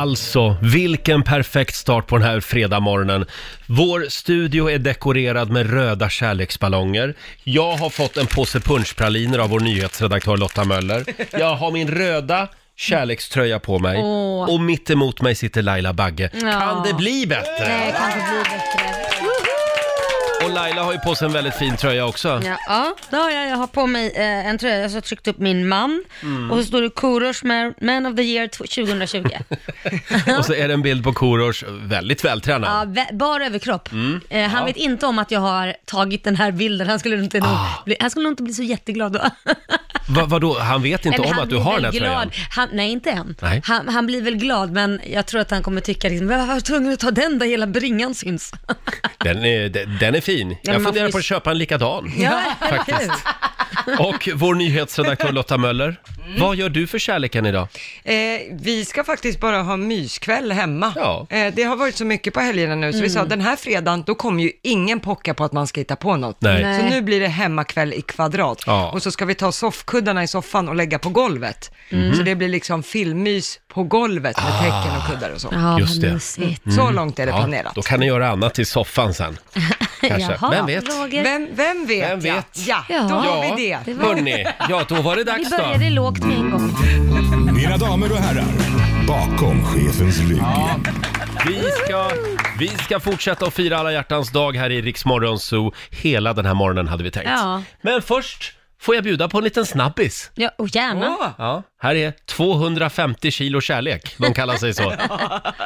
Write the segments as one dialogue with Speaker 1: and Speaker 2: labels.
Speaker 1: Alltså, vilken perfekt start på den här fredagmorgonen. Vår studio är dekorerad med röda kärleksballonger. Jag har fått en påse punschpraliner av vår nyhetsredaktör Lotta Möller. Jag har min röda kärlekströja på mig
Speaker 2: Åh.
Speaker 1: och mitt emot mig sitter Laila Bagge.
Speaker 2: Ja.
Speaker 1: Kan det bli bättre?
Speaker 2: Nej, det kan inte bli bättre.
Speaker 1: Och Laila har ju på sig en väldigt fin tröja också.
Speaker 2: Ja, ja då har jag, jag har på mig eh, en tröja, så har jag tryckt upp min man
Speaker 1: Mm.
Speaker 2: och så står det Korosh med Man of the Year 2020.
Speaker 1: Och så är det en bild på Korosh, väldigt vältränad. Mm.
Speaker 2: ja, vä- bara överkropp. Eh, han vet inte om att jag har tagit den här bilden, han skulle nog inte, nog
Speaker 1: Ah.
Speaker 2: bli, han skulle nog inte bli så jätteglad då.
Speaker 1: Va, vadå, han vet inte
Speaker 2: Nej, men
Speaker 1: om
Speaker 2: han
Speaker 1: att du
Speaker 2: blir
Speaker 1: har
Speaker 2: väl
Speaker 1: den här tröjan?
Speaker 2: glad. Han, nej, inte än.
Speaker 1: Nej.
Speaker 2: Han, han blir väl glad, men jag tror att han kommer tycka liksom, "Vad- vad var jag tvungen att ta den där hela bringan syns.
Speaker 1: Den är, den den är fin.
Speaker 2: men
Speaker 1: Jag
Speaker 2: man
Speaker 1: funderar
Speaker 2: får ju-
Speaker 1: på att köpa en likadan.
Speaker 2: Ja,
Speaker 1: Faktiskt. Och vår nyhetsredaktör Lotta Möller,
Speaker 2: Mm.
Speaker 1: vad gör du för kärleken idag?
Speaker 3: Eh, vi ska faktiskt bara ha myskväll hemma.
Speaker 1: Ja. Mm.
Speaker 3: Eh, det har varit så mycket på helgerna nu, så vi sa den här fredagen, då kommer ju ingen pocka på att man ska hitta på något.
Speaker 1: Nej.
Speaker 2: Nej.
Speaker 3: Så nu blir det hemmakväll i kvadrat.
Speaker 1: Ja.
Speaker 3: Och så ska vi ta soffkuddarna i soffan och lägga på golvet.
Speaker 1: Mm.
Speaker 3: Så det blir liksom filmmys på golvet med täcken och kuddar och så.
Speaker 2: ja
Speaker 1: Ah. Just det. Mm.
Speaker 2: vad mysigt.
Speaker 3: Så långt är det
Speaker 1: Ja,
Speaker 3: planerat.
Speaker 1: då kan ni göra annat i soffan sen. Kanske.
Speaker 2: Jaha,
Speaker 1: Vem vet?
Speaker 2: Roger.
Speaker 3: Vem, vem vet?
Speaker 1: Vem vet?
Speaker 3: Ja, ja,
Speaker 2: Ja.
Speaker 3: då
Speaker 1: Ja,
Speaker 3: har vi det.
Speaker 2: var-
Speaker 1: hörni. Ja, då var det
Speaker 2: Vi
Speaker 1: dags då.
Speaker 2: började lågt med en gång.
Speaker 4: Mina damer och herrar, bakom chefens rygg.
Speaker 1: Vi ska, vi ska fortsätta att fira alla hjärtans dag här i Rix Morgon Zoo. Hela den här morgonen hade vi tänkt.
Speaker 2: Ja.
Speaker 1: Men först får jag bjuda på en liten snabbis.
Speaker 2: Ja, och gärna.
Speaker 3: Åh,
Speaker 1: Ja, här är 250 kilo kärlek, de kallar sig så.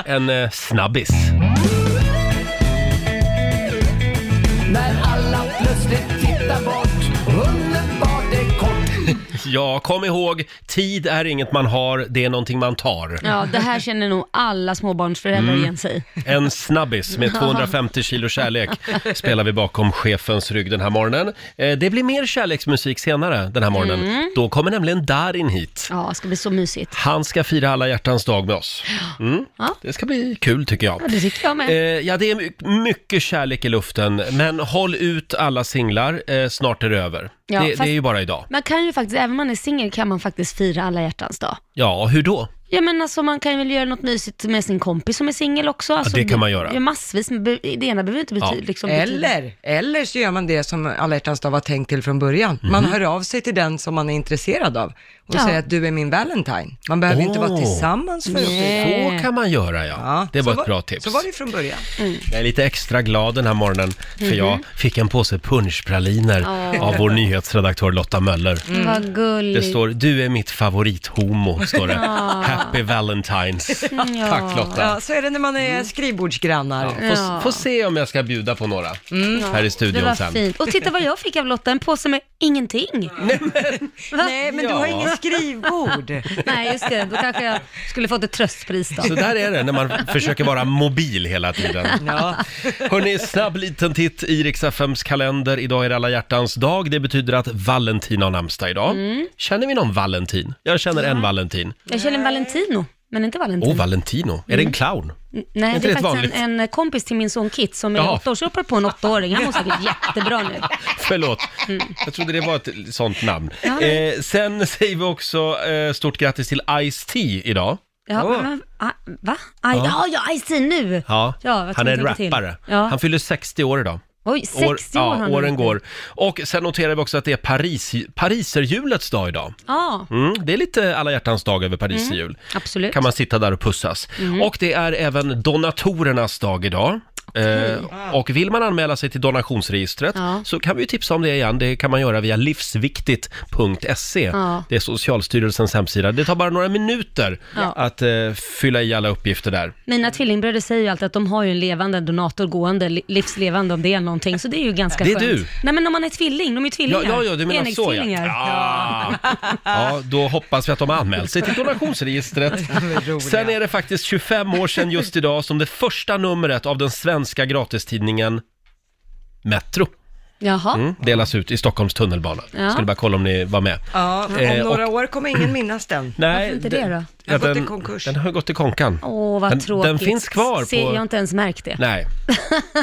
Speaker 1: En eh, snabbis.
Speaker 5: När alla plötsligt tittar bort, underbart är kort.
Speaker 1: Ja, kom ihåg, tid är inget man har, det är någonting man tar.
Speaker 2: Ja, det här känner nog alla småbarnsföräldrar
Speaker 1: Mm.
Speaker 2: igen sig i.
Speaker 1: En snabbis med 250 kilo kärlek spelar vi bakom chefens rygg den här morgonen. Eh, Det blir mer kärleksmusik senare den här morgonen. Då kommer nämligen Darin hit.
Speaker 2: Mm. Ja, det ska bli så mysigt.
Speaker 1: Han ska fira alla hjärtans dag med oss. Mm.
Speaker 2: Ja.
Speaker 1: Det ska bli kul tycker jag.
Speaker 2: Ja, det tycker jag
Speaker 1: Eh,
Speaker 2: med.
Speaker 1: ja, det är my- mycket kärlek i luften, men håll ut alla singlar, eh, snart är det över.
Speaker 2: Ja,
Speaker 1: det,
Speaker 2: fast-
Speaker 1: det är ju bara idag.
Speaker 2: Man kan ju faktiskt, även om man är singel, kan man faktiskt fira alla hjärtans dag.
Speaker 1: Ja, hur då?
Speaker 2: Ja men alltså man kan väl göra något mysigt med sin kompis som är singel också. Alltså,
Speaker 1: det kan man göra.
Speaker 2: Det är massvis, men be- det ena behöver inte betyda
Speaker 1: Ja.
Speaker 2: liksom, betyda-
Speaker 3: Eller, eller så gör man det som alla hjärtans dag var tänkt till från början. Man
Speaker 1: Mhm.
Speaker 3: hör av sig till den som man är intresserad av och
Speaker 2: Ja.
Speaker 3: säger att du är min Valentine. Man behöver inte vara
Speaker 1: Åh.
Speaker 3: tillsammans för att fira.
Speaker 1: Så kan man göra ja.
Speaker 3: Ja,
Speaker 1: Det var
Speaker 3: så
Speaker 1: ett bra tips.
Speaker 3: Så var det från början.
Speaker 2: Mm.
Speaker 1: Jag är lite extra glad den här morgonen för
Speaker 2: Mhm.
Speaker 1: jag fick en påse punschpraliner
Speaker 2: Åh.
Speaker 1: av vår nyhetsredaktör Lotta Möller.
Speaker 3: Mm.
Speaker 2: Mm. Vad
Speaker 1: Det
Speaker 2: gulligt.
Speaker 1: står “Du är mitt favorithomo”, står det. Happy Valentines.
Speaker 2: Ja. Mm.
Speaker 1: Tack Lotta.
Speaker 3: Ja, så är det när man är skrivbordsgrannar.
Speaker 1: Får, får se om jag ska bjuda på några
Speaker 3: Mm.
Speaker 1: här i
Speaker 2: Mm. Det
Speaker 1: studion
Speaker 2: var
Speaker 1: sen.
Speaker 2: fint. Och titta vad jag fick av Lotta, en påse med ingenting. Va?
Speaker 3: Nej, men
Speaker 1: Ja.
Speaker 3: du har inget skrivbord.
Speaker 2: Nej, just det. Då kanske jag skulle fått ett tröstpris då.
Speaker 1: Så där är det när man försöker vara mobil hela tiden.
Speaker 3: Ja.
Speaker 1: Hörni, snabb liten titt i Rix FMs kalender. Idag är det alla hjärtans dag. Det betyder att Valentin har namnsdag idag.
Speaker 2: Mm.
Speaker 1: Känner vi någon Valentin? Jag känner en Valentin.
Speaker 2: Jag känner en Valentino, men inte Valentino.
Speaker 1: Åh, Valentino. Är
Speaker 2: Mm.
Speaker 1: det en clown?
Speaker 2: Nej,
Speaker 1: inte
Speaker 2: det är
Speaker 1: rätt
Speaker 2: faktiskt en, en kompis till min son Kit som är
Speaker 1: Jaha.
Speaker 2: åtta år, så jag hoppade på en åttaåring. Han mår säkert jättebra nu.
Speaker 1: Förlåt,
Speaker 2: Mm.
Speaker 1: jag trodde det var ett sånt namn. Eh, sen säger vi också eh, stort grattis till Ice-T idag.
Speaker 2: Ja,
Speaker 3: Åh.
Speaker 2: men, ah, va? Aj, ja, ja, Ice nu!
Speaker 1: Ja,
Speaker 2: Ja, vad
Speaker 1: han är
Speaker 2: tänkte jag till?
Speaker 1: rappare.
Speaker 2: Ja.
Speaker 1: Han fyller 60 år idag.
Speaker 2: Oj, 60 år,
Speaker 1: ja,
Speaker 2: har han
Speaker 1: åren
Speaker 2: blivit.
Speaker 1: går. Och sen noterar vi också att det är Paris, Pariserhjulets dag idag.
Speaker 2: Ja, Mm.
Speaker 1: Mm, det är lite alla hjärtans dag över Pariserhjul.
Speaker 2: absolut.
Speaker 1: Kan man sitta där och pussas.
Speaker 2: Mm.
Speaker 1: Och det är även donatorernas dag idag. Eh, och vill man anmäla sig till donationsregistret
Speaker 2: Ja.
Speaker 1: så kan vi ju tipsa om det igen. Det kan man göra via livsviktigt.se.
Speaker 2: Ja.
Speaker 1: Det är Socialstyrelsens hemsida. Det tar bara några minuter
Speaker 2: Ja.
Speaker 1: att eh, fylla i alla uppgifter där.
Speaker 2: Mina tvillingbröder säger ju alltid att de har ju en levande donator gående, li- livslevande om det är någonting, så det är ju ganska
Speaker 1: Det är
Speaker 2: skönt.
Speaker 1: du.
Speaker 2: Nej men om man är tvilling, de är ju tvillingar.
Speaker 1: Ja, ja, ja du menar så ja.
Speaker 2: Enäggstvillingar.
Speaker 1: ja.
Speaker 2: Ah.
Speaker 1: ja. Då hoppas vi att de har anmält sig till donationsregistret. Sen är det faktiskt 25 år sedan just idag som det första numret av den svenska gratistidningen Metro
Speaker 2: Jaha.
Speaker 1: mm, delas ut i Stockholms tunnelbana.
Speaker 2: Ja.
Speaker 1: Skulle bara kolla om ni var med.
Speaker 3: Ja,
Speaker 1: Eh,
Speaker 3: om några år kommer ingen minnas den.
Speaker 1: Nej,
Speaker 2: Varför inte det då?
Speaker 3: Den har gått i
Speaker 1: den-
Speaker 3: konkurs.
Speaker 1: Den har gått i konkan.
Speaker 2: Åh, vad
Speaker 1: Den-
Speaker 2: tråkigt.
Speaker 1: den finns kvar
Speaker 2: Se,
Speaker 1: på-
Speaker 2: Jag har inte ens märkt det.
Speaker 1: Nej,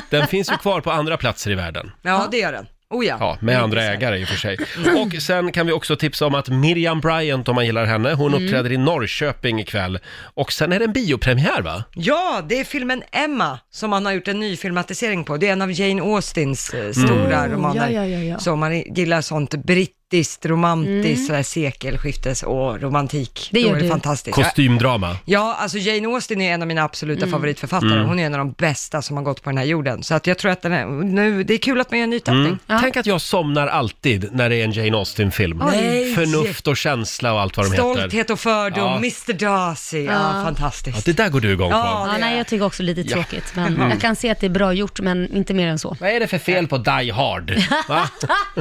Speaker 1: den finns ju kvar på andra platser i världen.
Speaker 3: Ja, det gör den. Oh ja.
Speaker 1: Ja, med andra
Speaker 3: Mycket
Speaker 1: ägare i och för sig. Och sen kan vi också tipsa om att Miriam Bryant, om man gillar henne, hon
Speaker 2: Mm.
Speaker 1: uppträder i Norrköping ikväll. Och sen är det en biopremiär va?
Speaker 3: Ja, det är filmen Emma som han har gjort en ny filmatisering på. Det är en av Jane Austins
Speaker 2: Mm.
Speaker 3: eh, stora
Speaker 6: Oh,
Speaker 3: romaner.
Speaker 6: ja, ja, ja, ja.
Speaker 3: Så om man gillar sånt brittiskt, romantiskt, sådär sekelskiftes och romantik.
Speaker 2: Mm. Det
Speaker 3: då
Speaker 2: gör
Speaker 3: är det
Speaker 2: du.
Speaker 3: fantastiskt. Jag-
Speaker 1: Kostymdrama.
Speaker 3: Ja, alltså Jane Austen är en av mina absoluta
Speaker 2: Mm.
Speaker 3: favoritförfattare.
Speaker 1: Mm.
Speaker 3: Hon är en av de bästa som har gått på den här jorden. Så att jag tror att den är, nu, det är kul att man gör en ny tappning.
Speaker 2: Ja.
Speaker 1: Mm. Tänk att jag somnar alltid när det är en Jane Austen-film.
Speaker 3: Nej.
Speaker 1: Förnuft och känsla och allt vad de heter.
Speaker 3: Stolthet och fördom,
Speaker 1: Ja.
Speaker 3: Mr Darcy, ja,
Speaker 2: Ja.
Speaker 1: Ja,
Speaker 3: fantastiskt.
Speaker 1: det där går du igång på.
Speaker 3: Ja.
Speaker 2: Ja,
Speaker 3: det
Speaker 2: nej,
Speaker 3: är-
Speaker 2: jag tycker också lite tråkigt. Men Jag kan se att det är bra gjort, men inte mer än så.
Speaker 1: Mm. Vad är det för fel på Die Hard? Va?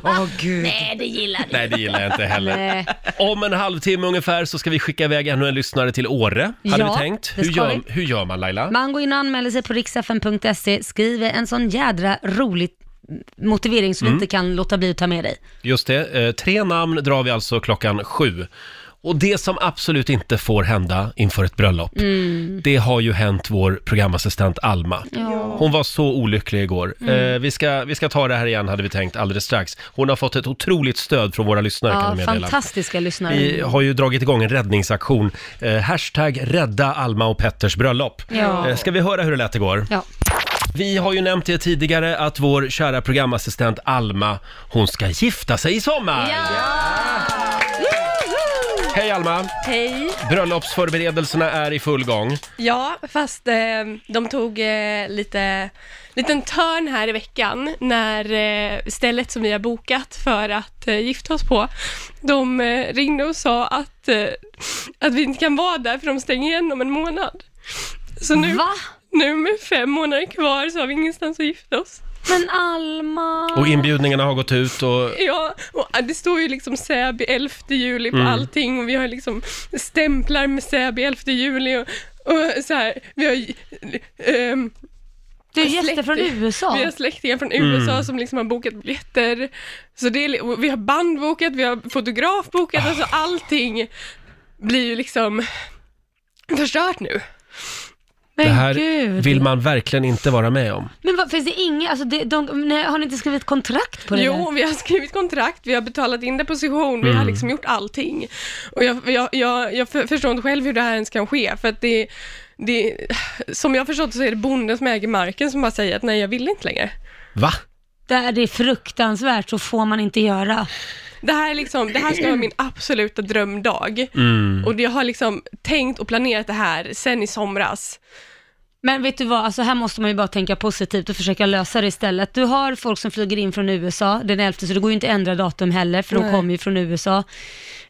Speaker 3: Åh gud.
Speaker 2: Nej, det gillar vi.
Speaker 1: Nej, det gillar jag inte heller.
Speaker 2: Nej.
Speaker 1: Om en halvtimme ungefär så ska vi skicka iväg ännu en lyssnare till Åre, hade
Speaker 2: Ja,
Speaker 1: du tänkt.
Speaker 2: det
Speaker 1: Hur
Speaker 2: ska
Speaker 1: gör,
Speaker 2: vi.
Speaker 1: hur gör man Laila?
Speaker 2: Man går in och anmäler sig på riksfn.se, skriver en sån jädra rolig motivering som
Speaker 1: Mm.
Speaker 2: inte kan låta bli att ta med dig.
Speaker 1: Just det, eh, tre namn drar vi alltså klockan sju. Och det som absolut inte får hända inför ett
Speaker 2: Mm.
Speaker 1: bröllop, det har ju hänt vår programassistent Alma. Hon var så olycklig igår.
Speaker 2: Mm.
Speaker 1: Eh, vi, ska, vi ska ta det här igen hade vi tänkt alldeles strax. Hon har fått ett otroligt stöd från våra lyssnare kan jag
Speaker 2: Ja,
Speaker 1: meddela.
Speaker 2: fantastiska lyssnare.
Speaker 1: Vi har ju dragit igång en räddningsaktion. Eh, hashtag rädda Alma och Petters bröllop.
Speaker 2: Ja.
Speaker 1: Eh, ska vi höra hur det lät igår?
Speaker 2: Ja.
Speaker 1: Vi har ju nämnt det tidigare att vår kära programassistent Alma, hon ska gifta sig i sommar! Hej Alma!
Speaker 7: Hej!
Speaker 1: Bröllopsförberedelserna är i full gång.
Speaker 7: Ja, fast eh, de tog eh, lite liten törn här i veckan när eh, stället som vi har bokat för att eh, gifta oss på, de eh, ringde och sa att, eh, att vi inte kan vara där för de stänger igen om en månad. Så nu,
Speaker 2: Va?
Speaker 7: nu med fem månader kvar så har vi ingenstans att gifta oss.
Speaker 2: Men Alma...
Speaker 1: Och inbjudningarna har gått ut och...
Speaker 7: Ja, och det står ju liksom Säby 11 juli
Speaker 1: Mm.
Speaker 7: på allting och vi har liksom stämplar med Säby 11 juli och, och så här, vi har ehm,
Speaker 2: du är gäster från
Speaker 7: släkting-
Speaker 2: USA.
Speaker 7: Vi har släktingar från USA
Speaker 1: Mm.
Speaker 7: som liksom har bokat biljetter. Så det är, li- och vi har band bokat, vi har fotograf bokat, alltså
Speaker 1: Ah.
Speaker 7: allting blir ju liksom förstört nu.
Speaker 2: Men
Speaker 1: det här
Speaker 2: gud.
Speaker 1: vill man verkligen inte vara med om.
Speaker 2: Men vad, finns det inget, alltså det, de, nej, har ni inte skrivit kontrakt på det
Speaker 7: Jo,
Speaker 2: där?
Speaker 7: vi har skrivit kontrakt, vi har betalat in deposition, vi har liksom gjort allting. Och jag, jag, jag, jag för, förstår inte själv hur det här ens kan ske, för att det, det, som jag har förstått så är det bonden som äger marken som bara säger att nej, jag vill inte längre.
Speaker 1: Va?
Speaker 2: Det är det är fruktansvärt, så får man inte göra.
Speaker 7: Det här, är liksom, det här ska vara min absoluta drömdag.
Speaker 8: Mm.
Speaker 5: Mm.
Speaker 7: Och jag har liksom tänkt och planerat det här sen i somras.
Speaker 2: Men vet du vad, alltså här måste man ju bara tänka positivt och försöka lösa det istället. Du har folk som flyger in från USA den 11, så det går ju inte att ändra datum heller, för de
Speaker 7: Nej.
Speaker 2: kommer ju från USA.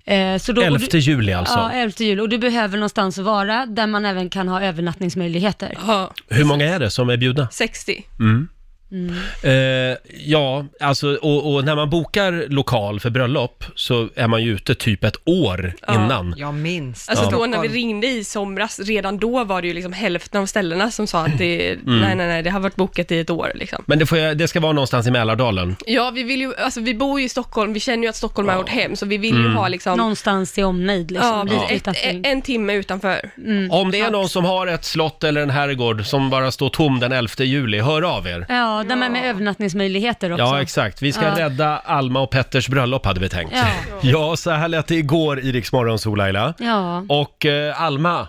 Speaker 2: Eh, så då, och
Speaker 1: 11
Speaker 2: du-
Speaker 1: juli alltså.
Speaker 2: Ja, 11 juli. Och du behöver någonstans att vara, där man även kan ha övernattningsmöjligheter.
Speaker 7: Ja,
Speaker 1: Hur många är det som är bjudna? Mm.
Speaker 7: 60.
Speaker 2: Mm.
Speaker 1: Eh, ja, alltså och, och när man bokar lokal för bröllop så är man ju ute typ ett år innan.
Speaker 3: Jag minns.
Speaker 7: Alltså
Speaker 3: det.
Speaker 7: då när vi ringde i somras, redan då var det ju liksom hälften av ställena som sa att det,
Speaker 1: Mm.
Speaker 7: nej, nej, nej, det har varit bokat i ett år liksom.
Speaker 1: Men det, får jag, det ska vara någonstans i Mälardalen.
Speaker 7: Ja, vi vill ju, alltså vi bor ju i Stockholm, vi känner ju att Stockholm är vårt hem, så vi vill ju
Speaker 1: Mm.
Speaker 7: ha liksom,
Speaker 2: Någonstans i omnejd liksom.
Speaker 7: ja,
Speaker 2: lite
Speaker 7: precis,
Speaker 2: utanför. Mm.
Speaker 7: ett, en timme utanför.
Speaker 1: Om det är någon som har ett slott eller en herrgård som bara står tom den 11 juli, hör av er.
Speaker 2: Ja, där man med övernattningsmöjligheter också.
Speaker 1: Ja, exakt. Vi ska
Speaker 2: Ja.
Speaker 1: rädda Alma och Petters bröllop hade vi tänkt.
Speaker 2: Ja.
Speaker 1: ja så här lät det igår i Rix Morgon, Sol, Laila.
Speaker 2: Ja.
Speaker 1: Och eh, Alma,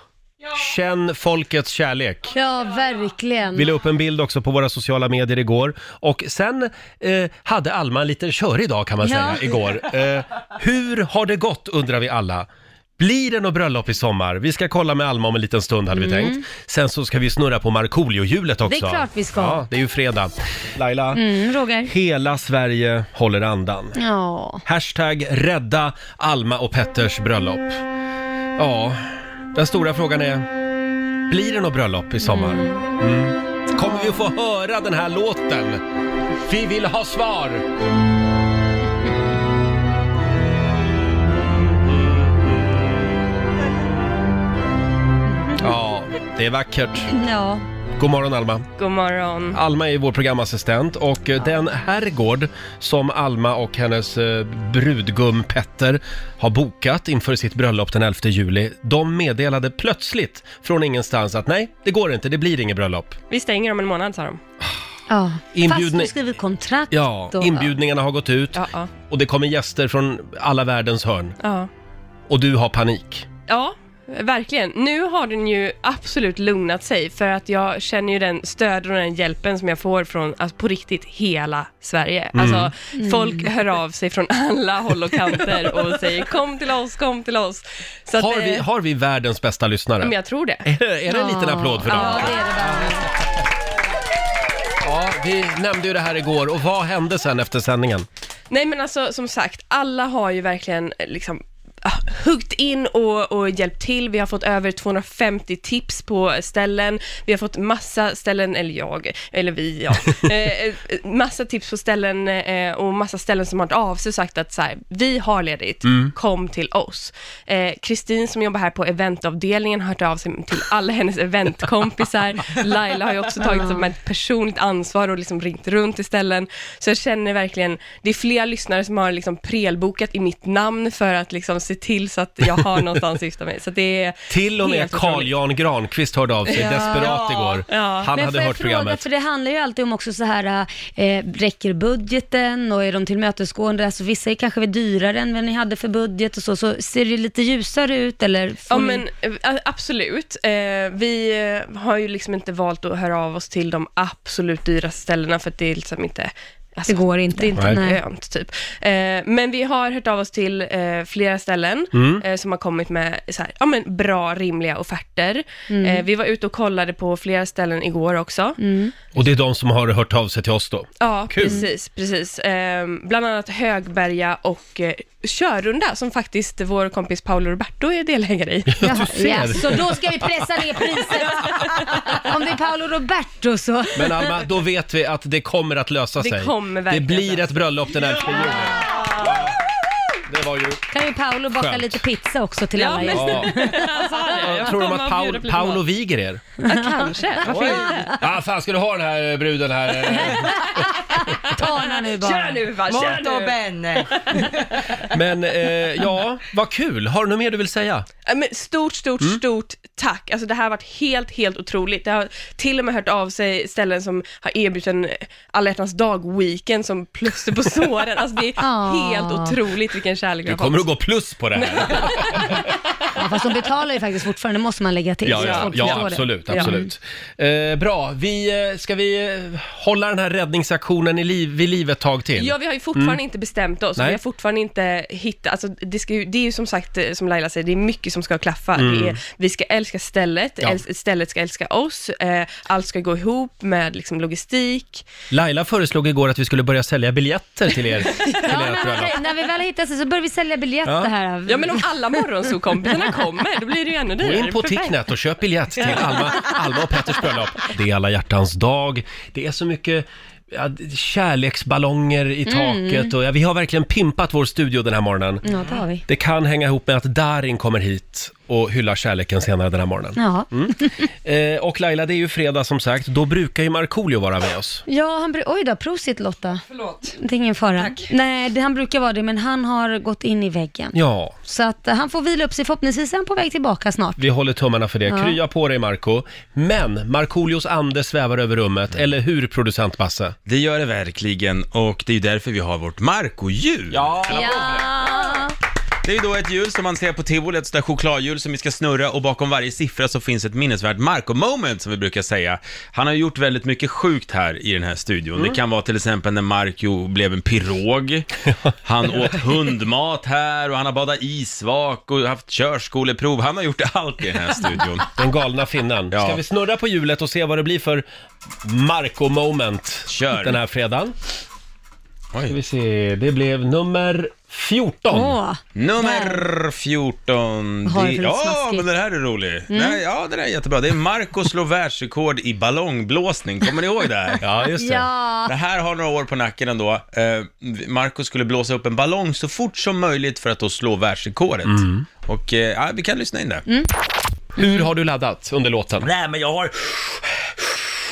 Speaker 1: känn folkets kärlek.
Speaker 2: ja, verkligen.
Speaker 1: Vi la Mm. upp en bild också på våra sociala medier igår. Och sen eh, hade Alma en liten körig dag kan man
Speaker 2: Ja.
Speaker 1: säga igår. Eh, hur har det gått undrar vi alla. Blir det något bröllop i sommar? Vi ska kolla med Alma om en liten stund hade vi tänkt. Sen så ska vi snurra på Markoolio-hjulet också.
Speaker 2: Mm. klart vi ska.
Speaker 1: Ja, det är ju fredag. Laila,
Speaker 2: Mm, Roger.
Speaker 1: hela Sverige håller andan.
Speaker 2: Ja.
Speaker 1: Hashtag rädda Alma och Petters bröllop. Ja, den stora frågan är, blir det något bröllop i sommar? Mm. Kommer vi få höra den här låten? Vi vill ha svar! Ja, det är vackert.
Speaker 2: Ja.
Speaker 1: God morgon Alma.
Speaker 7: God morgon.
Speaker 1: Alma är vår programassistent och eh, den herrgård som Alma och hennes eh, brudgum Petter har bokat inför sitt bröllop den 11 juli, de meddelade plötsligt från ingenstans att nej, det går inte, det blir inget bröllop.
Speaker 7: Vi stänger om en månad, sa de.
Speaker 2: Ja. Fast
Speaker 1: Inbjudning-
Speaker 2: du skriver kontrakt
Speaker 1: Ja,
Speaker 2: och-
Speaker 1: inbjudningarna har gått ut
Speaker 7: Ja, ja.
Speaker 1: och det kommer gäster från alla världens hörn.
Speaker 7: ja.
Speaker 1: Och du har panik.
Speaker 7: Ja, verkligen. Nu har den ju absolut lugnat sig för att jag känner ju den stöd och den hjälpen som jag får från, alltså på riktigt, hela Sverige.
Speaker 1: Mm.
Speaker 7: Alltså, folk hör av sig från alla håll och kanter och säger kom till oss, kom till oss. Så att,
Speaker 1: Har vi,
Speaker 7: eh,
Speaker 1: har vi världens bästa lyssnare?
Speaker 7: Men jag tror det.
Speaker 1: Är det en liten applåd för dem?
Speaker 2: Ja, det är det verkligen.
Speaker 1: Ja, vi nämnde ju det här igår och vad hände sen efter sändningen?
Speaker 7: Nej men alltså som sagt, alla har ju verkligen eh, liksom ah, huggt in och, och hjälpt till. Vi har fått över 250 tips på ställen. Vi har fått massa ställen, eller jag, eller vi, ja. Eh, eh, massa tips på ställen eh, och massa ställen som har hört av sig och sagt att så här, vi har ledigt, kom till oss. Eh, Kristin som jobbar här på eventavdelningen har hört av sig till alla hennes eventkompisar. Laila har ju också tagit som ett personligt ansvar och liksom ringt runt till ställen. Så jag känner verkligen, det är flera lyssnare som har liksom prelbokat i mitt namn för att liksom se till så att jag har någonstans att gifta mig. Så det är
Speaker 1: Till och med
Speaker 7: helt otroligt.
Speaker 1: Carl Jan Granqvist hörde av sig desperat igår.
Speaker 7: Ja.
Speaker 1: Han
Speaker 2: Men
Speaker 1: hade
Speaker 2: får jag
Speaker 1: hört
Speaker 2: fråga,
Speaker 1: programmet.
Speaker 2: För det handlar ju alltid om också så här, eh, räcker budgeten och är de tillmötesgående? Alltså vissa är kanske väl dyrare än vad ni hade för budget och så, så ser det lite ljusare ut eller? får
Speaker 7: Ja
Speaker 2: ni-
Speaker 7: men eh, a- absolut. Eh, vi eh, har ju liksom inte valt att höra av oss till de absolut dyraste ställena för att det är liksom inte alltså,
Speaker 2: Det går inte.
Speaker 7: Det är inte
Speaker 2: Nej.
Speaker 7: lönt typ. Eh, men vi har hört av oss till eh, flera ställen eh, som har kommit med så här, ja, men bra, rimliga offerter.
Speaker 2: Mm.
Speaker 7: Eh, vi var ute och kollade på flera ställen igår också.
Speaker 2: Mm.
Speaker 1: Och det är de som har hört av sig till oss då.
Speaker 7: Ja,
Speaker 1: Kul. Mm.
Speaker 7: precis. precis. Eh, bland annat Högberga och eh, Körunda som faktiskt vår kompis Paolo Roberto är delägare i.
Speaker 2: Jaha,
Speaker 1: ser.
Speaker 2: ja, så då ska vi pressa ner priset. Om det är Paolo Roberto så.
Speaker 1: Men Alma, då vet vi att det kommer att lösa
Speaker 7: Det
Speaker 1: sig. det
Speaker 7: kommer verkligen
Speaker 1: blir
Speaker 7: lösa
Speaker 1: ett bröllop den 11 juni. Ja. Det var ju...
Speaker 2: Kan ju Paolo baka
Speaker 1: Skönt.
Speaker 2: lite pizza också till alla Alltså, er.
Speaker 1: Ja.
Speaker 7: Jag
Speaker 1: Tror de
Speaker 7: kommer
Speaker 1: att
Speaker 7: bjuda på
Speaker 1: Paul,
Speaker 7: lite
Speaker 1: Paolo
Speaker 7: mat.
Speaker 1: viger er?
Speaker 7: Ja, kanske. Varför
Speaker 1: Oj!
Speaker 7: inte?
Speaker 1: Ja, fan ska du ha den här eh, bruden här? eh?
Speaker 2: Ta henne nu bara.
Speaker 7: Kör nu, va, kör
Speaker 3: Molto
Speaker 7: nu.
Speaker 3: bene!
Speaker 1: Men eh, ja, vad kul. Har du något mer du vill säga?
Speaker 7: Ja, Men stort, stort,
Speaker 1: Mm.
Speaker 7: stort tack. Alltså det här har varit helt, helt otroligt. Det har till och med hört av sig ställen som har erbjudit en alla hjärtans dag-weekend som plåster på såren. Alltså det
Speaker 2: Ah.
Speaker 7: är helt otroligt vilken kärlek vi
Speaker 1: Du
Speaker 7: har
Speaker 1: kommer att
Speaker 7: fått.
Speaker 1: gå plus på det här.
Speaker 2: Ja, fast de betalar ju faktiskt fortfarande, det måste man lägga till.
Speaker 1: Ja,
Speaker 2: så att
Speaker 1: ja,
Speaker 2: folk
Speaker 1: ja
Speaker 2: förstår det.
Speaker 1: absolut.
Speaker 7: Ja.
Speaker 1: absolut. Eh, bra, vi, eh, ska vi eh, hålla den här räddningsaktionen i liv, vid liv ett tag till? Mm.
Speaker 7: Ja, vi har ju fortfarande inte bestämt oss.
Speaker 1: Nej.
Speaker 7: Vi har fortfarande inte hittat, alltså det, ska ju, det är ju som sagt, eh, som Laila säger, det är mycket som ska klaffa. Det är, vi ska älska stället,
Speaker 1: Mm. Ja.
Speaker 7: äls- stället ska älska oss, eh, allt ska gå ihop med liksom, logistik.
Speaker 1: Laila föreslog igår att vi skulle börja sälja biljetter till er. Till
Speaker 2: Ja,
Speaker 1: ert
Speaker 2: när,
Speaker 1: bröllop.
Speaker 2: vi, när vi väl hittar sig så börjar vi sälja biljetter
Speaker 1: Ja.
Speaker 2: här.
Speaker 7: Ja men om alla morgonsokompisarna kommer, då blir det ju ännu
Speaker 1: Gå
Speaker 7: dyrare.
Speaker 1: in på
Speaker 7: Perfekt.
Speaker 1: Ticknet och köp biljett till Alma, Alma och Petters bröllop. Det är alla hjärtans dag. Det är så mycket ja, kärleksballonger i taket och ja, vi har verkligen pimpat vår studio den här morgonen.
Speaker 2: Ja, det har vi.
Speaker 1: Det kan hänga ihop med att Darin kommer hit och hyllar kärleken senare den här morgonen.
Speaker 2: Ja.
Speaker 1: Eh, och Laila, det är ju fredag som sagt. Då brukar ju Markoolio vara med oss.
Speaker 2: Ja, han bru- Oj då, prosit Lotta.
Speaker 3: Förlåt.
Speaker 2: Det är ingen fara. Nej, det, han brukar vara det, men han har gått in i väggen.
Speaker 1: Ja,
Speaker 2: Så att eh, han får vila upp sig, förhoppningsvis är han på väg tillbaka snart.
Speaker 1: vi håller tummarna för det.
Speaker 2: Ja.
Speaker 1: Krya på dig Marco. Men Markoolios ande svävar över rummet, eller hur producent Basse?
Speaker 6: Mm. Det gör det verkligen och det är ju därför vi har vårt Marco-hjul.
Speaker 2: Ja.
Speaker 6: Det är ju då ett hjul som man ser på tivoli, ett sånt där chokladhjul som vi ska snurra och bakom varje siffra så finns ett minnesvärt Marco-moment som vi brukar säga. Han har ju gjort väldigt mycket sjukt här i den här studion.
Speaker 1: Mm.
Speaker 6: Det kan vara till exempel när Marco blev en pirog, han åt hundmat här och han har badat isvak och haft körskoleprov. Han har gjort allt i den här studion.
Speaker 1: Den galna finnen.
Speaker 6: Ja.
Speaker 1: Ska vi snurra på hjulet och se vad det blir för Marco-moment
Speaker 6: Kör.
Speaker 1: den här fredagen? Ska vi
Speaker 6: Oj.
Speaker 1: se, det blev nummer 14.
Speaker 2: Åh,
Speaker 6: Nummer 14.
Speaker 2: Vad har
Speaker 6: det-
Speaker 2: du för lite
Speaker 6: Ja,
Speaker 2: smaskigt? Mm.
Speaker 6: men den här är rolig. Nej, ja, den här är jättebra. Det är Marco slår världsrekord i ballongblåsning. Kommer ni ihåg det här?
Speaker 1: Ja, just det.
Speaker 2: ja.
Speaker 6: Det här har några år på nacken ändå. Eh, Marco skulle blåsa upp en ballong så fort som möjligt för att då slå världsrekordet.
Speaker 2: Mm.
Speaker 6: Och eh, ja, vi kan lyssna in det.
Speaker 1: Hur har du laddat under låten?
Speaker 6: Nej, men jag har...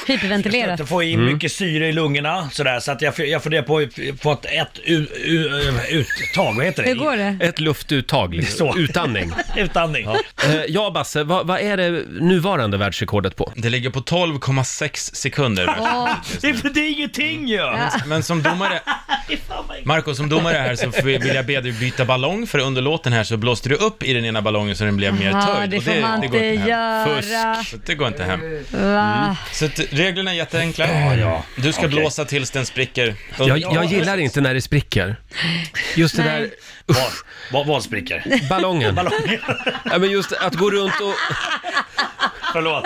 Speaker 8: Jag
Speaker 2: Hyperventilerat.
Speaker 8: inte få in mycket syre i lungorna sådär, så att jag, jag funderar på, på ett, ett u, u, uttag, vad heter det?
Speaker 2: Hur går det?
Speaker 1: Ett luftuttag, liksom.
Speaker 8: Så.
Speaker 1: utandning.
Speaker 8: Utandning.
Speaker 1: Eh, ja, Basse, vad, vad är det nuvarande världsrekordet på?
Speaker 6: Det ligger på 12,6 sekunder.
Speaker 2: Åh,
Speaker 8: Det, är- det är ingenting ju! Ja.
Speaker 6: Men som domare, Marco, som domare här så vill jag be dig byta ballong, för under låten här så blåste du upp i den ena ballongen så den blev mer
Speaker 2: Aha,
Speaker 6: töjd.
Speaker 2: det
Speaker 6: och
Speaker 2: får man
Speaker 6: går
Speaker 2: inte
Speaker 6: hem.
Speaker 2: göra. Ah.
Speaker 6: Fusk. Så Det går inte hem.
Speaker 8: Mm.
Speaker 2: va?
Speaker 6: Så att reglerna är jätteenkla. Du ska blåsa tills den spricker.
Speaker 1: Jag, jag gillar inte när det spricker. Just det
Speaker 2: Nej.
Speaker 1: där,
Speaker 8: Vad, vad spricker?
Speaker 1: ballongen. Ja, men just att gå runt och,
Speaker 8: Förlåt.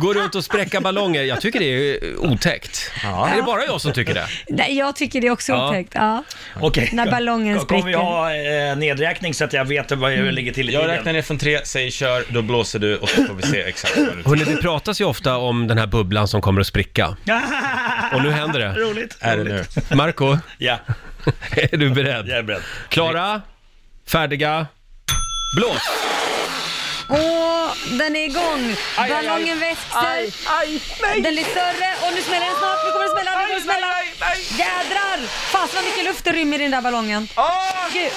Speaker 1: gå runt och spräcka ballonger, jag tycker det är eh, otäckt. Är det bara jag som tycker det?
Speaker 2: Mm. Nej, jag tycker det är också
Speaker 1: Ja.
Speaker 2: otäckt. Ja.
Speaker 8: Okej.
Speaker 2: När ballongen
Speaker 8: Kommer vi
Speaker 2: spricker. Mm.
Speaker 8: ha eh, nedräkning så att jag vet vad jag ligger till i
Speaker 6: Jag
Speaker 8: tiden?
Speaker 6: räknar ner från tre, säg kör, då blåser du och så får vi se exakt vad du
Speaker 1: Hörrni, det pratas ju ofta om den här bubblan som kommer att spricka. Och nu händer det.
Speaker 8: Roligt.
Speaker 6: är det nu.
Speaker 1: Marco,
Speaker 8: Ja,
Speaker 1: är du beredd?
Speaker 8: jag är beredd.
Speaker 1: Klara, färdiga, blås!
Speaker 2: Åh, den är igång! Ballongen växer. Den blir större och nu smäller den snart. Nu kommer det smälla, nu kommer det smälla. Jädrar! Fasen vad mycket luft det rymmer i den där ballongen. Åh,
Speaker 1: Ah!
Speaker 2: gud!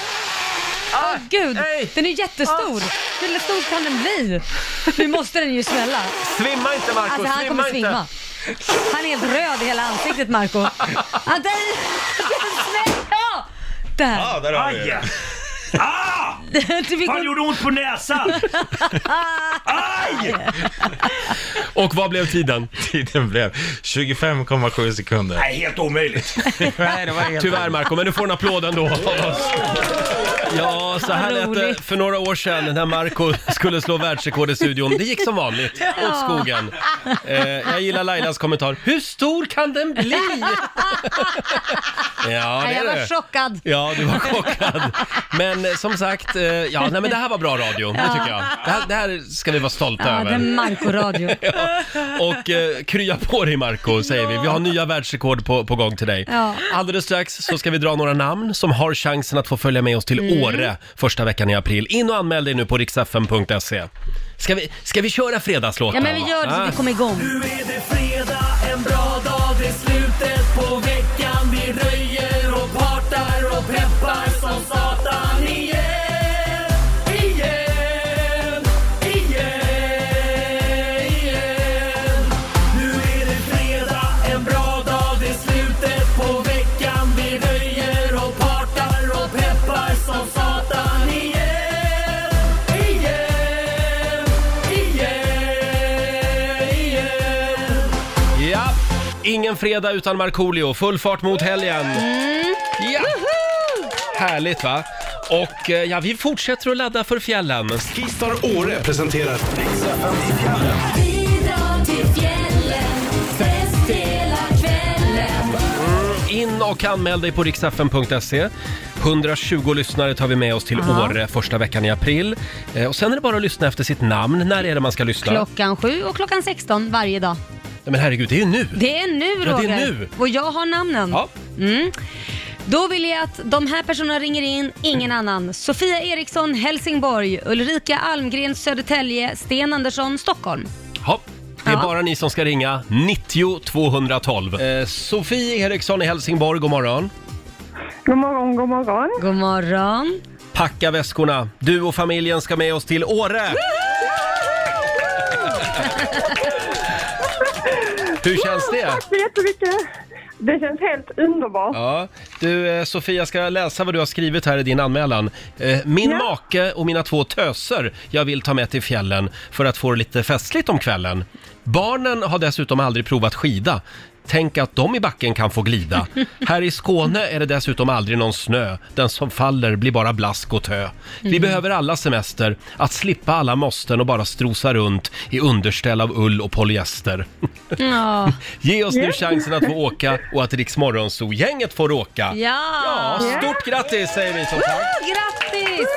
Speaker 2: Åh, gud! Den är jättestor.
Speaker 1: Ah.
Speaker 2: Hur stor kan den bli? Nu måste den ju smälla.
Speaker 1: Svimma inte Marco,
Speaker 2: Alltså han kommer svimma. Han är helt röd i hela ansiktet, Marco. Han tar i. Den smäller! Ja! Där.
Speaker 6: Ja, där har vi
Speaker 8: Aj!
Speaker 6: det.
Speaker 8: Ah!
Speaker 2: Du fick
Speaker 8: Fan, det gjorde ont på näsan! Aj!
Speaker 1: Och vad blev tiden?
Speaker 6: Tiden blev 25,7 sekunder.
Speaker 8: Nej, helt omöjligt.
Speaker 6: Nej, det var helt...
Speaker 1: Tyvärr Marco, men du får en applåd ändå av oss. Ja, så här lät det
Speaker 2: Roligt.
Speaker 1: för några år sedan när Marco skulle slå världsrekord i studion. Det gick som vanligt, åt skogen. Eh, jag gillar Lailas kommentar. Hur stor kan den bli? Ja, det
Speaker 2: Nej, jag
Speaker 1: är
Speaker 2: var
Speaker 1: det.
Speaker 2: chockad.
Speaker 1: Ja, du var chockad. Men eh, som sagt, eh, ja, nej, men det här var bra radio, det tycker jag. Det här, det här ska vi vara stolta
Speaker 2: Ja,
Speaker 1: över.
Speaker 2: den Marco-radio.
Speaker 1: Och eh, krya på dig Marco säger vi. Vi har nya världsrekord på, på gång till dig.
Speaker 2: Ja.
Speaker 1: Alldeles strax så ska vi dra några namn som har chansen att få följa med oss till
Speaker 2: Mm.
Speaker 1: Åre första veckan i april. In och anmäl dig nu på riksfn.se. Ska vi, ska vi köra
Speaker 2: Ja,
Speaker 1: fredagslåten?
Speaker 2: men vi gör det så
Speaker 1: Ah.
Speaker 2: vi kommer igång.
Speaker 1: Ja. Ingen fredag utan Markoolio. Full fart mot helgen.
Speaker 2: Mm.
Speaker 1: Ja. Härligt va? Och eh, ja, vi fortsätter att ladda för fjällen.
Speaker 4: Skistar Åre presenterar
Speaker 1: In och anmäl dig på riksfn.se. 120 lyssnare tar vi med oss till Åre första veckan i april. Eh, Och sen är det bara att lyssna efter sitt namn. När är det man ska lyssna?
Speaker 2: Klockan 7 och klockan 16 varje dag.
Speaker 1: Nej, men herregud, det är ju nu!
Speaker 2: Det är nu
Speaker 1: Ja, det är
Speaker 2: Roger.
Speaker 1: nu.
Speaker 2: Och jag har namnen.
Speaker 1: Ja.
Speaker 2: Mm. Då vill jag att de här personerna ringer in, ingen annan. Sofia Eriksson, Helsingborg. Ulrika Almgren, Södertälje. Sten Andersson, Stockholm.
Speaker 1: Ja. Det är
Speaker 2: Ja.
Speaker 1: bara ni som ska ringa 90 212. Eh, Sofie Eriksson i Helsingborg, god morgon.
Speaker 9: God morgon, god morgon.
Speaker 2: God morgon.
Speaker 1: Packa väskorna. Du och familjen ska med oss till Åre! Hur känns det?
Speaker 9: Tack så jättemycket. Det känns helt underbart.
Speaker 1: Ja, du eh, Sofia, jag ska läsa vad du har skrivit här i din anmälan. Eh, Min make och mina två töser jag vill ta med till fjällen för att få det lite festligt om kvällen. Barnen har dessutom aldrig provat skida. Tänk att de i backen kan få glida. Här i Skåne är det dessutom aldrig någon snö. Den som faller blir bara blask och tö. Vi behöver alla semester, att slippa alla måsten och bara strosa runt i underställ av ull och polyester.
Speaker 2: Ja.
Speaker 1: Ge oss nu chansen att få åka och att Rix gänget får åka. Ja,
Speaker 2: ja.
Speaker 1: stort grattis säger vi som sagt.
Speaker 2: Woo, Grattis!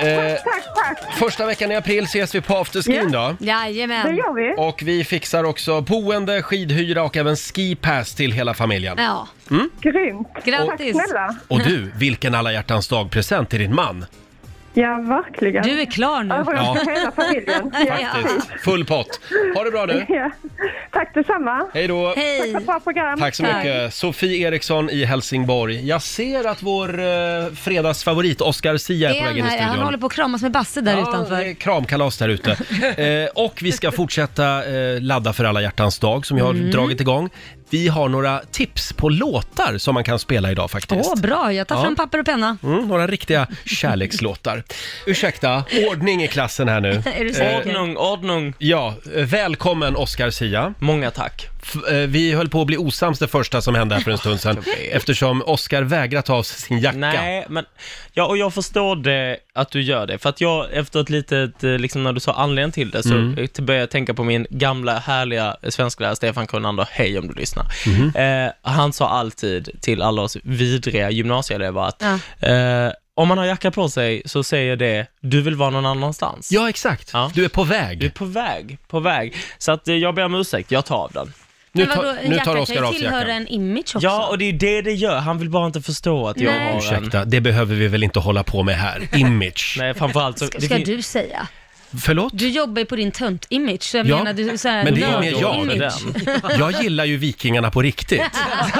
Speaker 1: Eh,
Speaker 9: Mm, Tack, tack.
Speaker 1: första veckan i april ses vi på afterskin då.
Speaker 9: Det
Speaker 2: Jajamän.
Speaker 9: gör vi.
Speaker 1: Och vi fixar också boende, skidhyra och även skipass till hela familjen. Mm.
Speaker 2: Ja,
Speaker 9: Grymt.
Speaker 2: grattis.
Speaker 9: Snälla.
Speaker 1: Och du, vilken alla hjärtans dag-present till din man.
Speaker 9: Ja, verkligen.
Speaker 2: Du är klar nu.
Speaker 9: Ja, jag får
Speaker 1: Ja.
Speaker 9: hela familjen. Ja.
Speaker 1: Faktiskt. Full pott. Ha det bra du.
Speaker 9: Ja. Tack detsamma.
Speaker 1: Hej då.
Speaker 9: Tack för ett bra program.
Speaker 1: Tack så mycket. Sofie Eriksson i Helsingborg. Jag ser att vår eh, fredagsfavorit Oscar Sia är
Speaker 2: Är
Speaker 1: på väg
Speaker 2: han,
Speaker 1: in i
Speaker 2: här? han
Speaker 1: studion.
Speaker 2: håller på att kramas med Basse där
Speaker 1: Ja, det är
Speaker 2: utanför.
Speaker 1: kramkalas där ute. Eh, och vi ska fortsätta eh, ladda för alla hjärtans dag som jag har
Speaker 2: Mm.
Speaker 1: dragit igång. Vi har några tips på låtar som man kan spela idag
Speaker 2: Åh,
Speaker 1: faktiskt.
Speaker 2: bra. Jag tar
Speaker 1: Ja.
Speaker 2: fram papper och penna.
Speaker 1: Mm, några riktiga kärlekslåtar. Ursäkta, ordning i klassen här nu.
Speaker 2: Är du säker?
Speaker 1: Ordnung, ordnung. Ja, eh, välkommen Oscar Sia. Många tack. Vi höll på att bli osams det första som hände här för en stund sedan eftersom Oscar vägrar ta av sig sin jacka.
Speaker 10: Nej, men ja, och jag förstår det att du gör det, för att jag efter ett litet, eh, liksom när du sa anledningen till det, så
Speaker 1: Mm.
Speaker 10: mm. började jag tänka på min gamla härliga svensklärare Stefan Kronander, hej om du lyssnar.
Speaker 1: Mm-hmm.
Speaker 10: Eh, han sa alltid till alla oss vidriga gymnasieelever att
Speaker 2: Ja.
Speaker 10: eh, om man har jacka på sig så säger det, du vill vara någon annanstans.
Speaker 1: Ja, exakt. Du är på väg.
Speaker 10: Du är på väg, på väg. Så att eh, jag ber om ursäkt, jag tar av den.
Speaker 2: Men vadå, en jacka kan ju tillhöra en image också.
Speaker 10: Ja, och det är det det gör. Han vill bara inte förstå att jag
Speaker 2: Nej.
Speaker 10: har en...
Speaker 1: Ursäkta, det behöver vi väl inte hålla på med här. Image.
Speaker 10: Nej, framförallt så...
Speaker 2: Ska, ska du säga?
Speaker 1: Förlåt?
Speaker 2: Du jobbar ju på din tönt-image, så jag
Speaker 1: Ja,
Speaker 2: menar du så här,
Speaker 1: men det är mer jag.
Speaker 2: nörd-image.
Speaker 1: Jag gillar ju vikingarna på riktigt.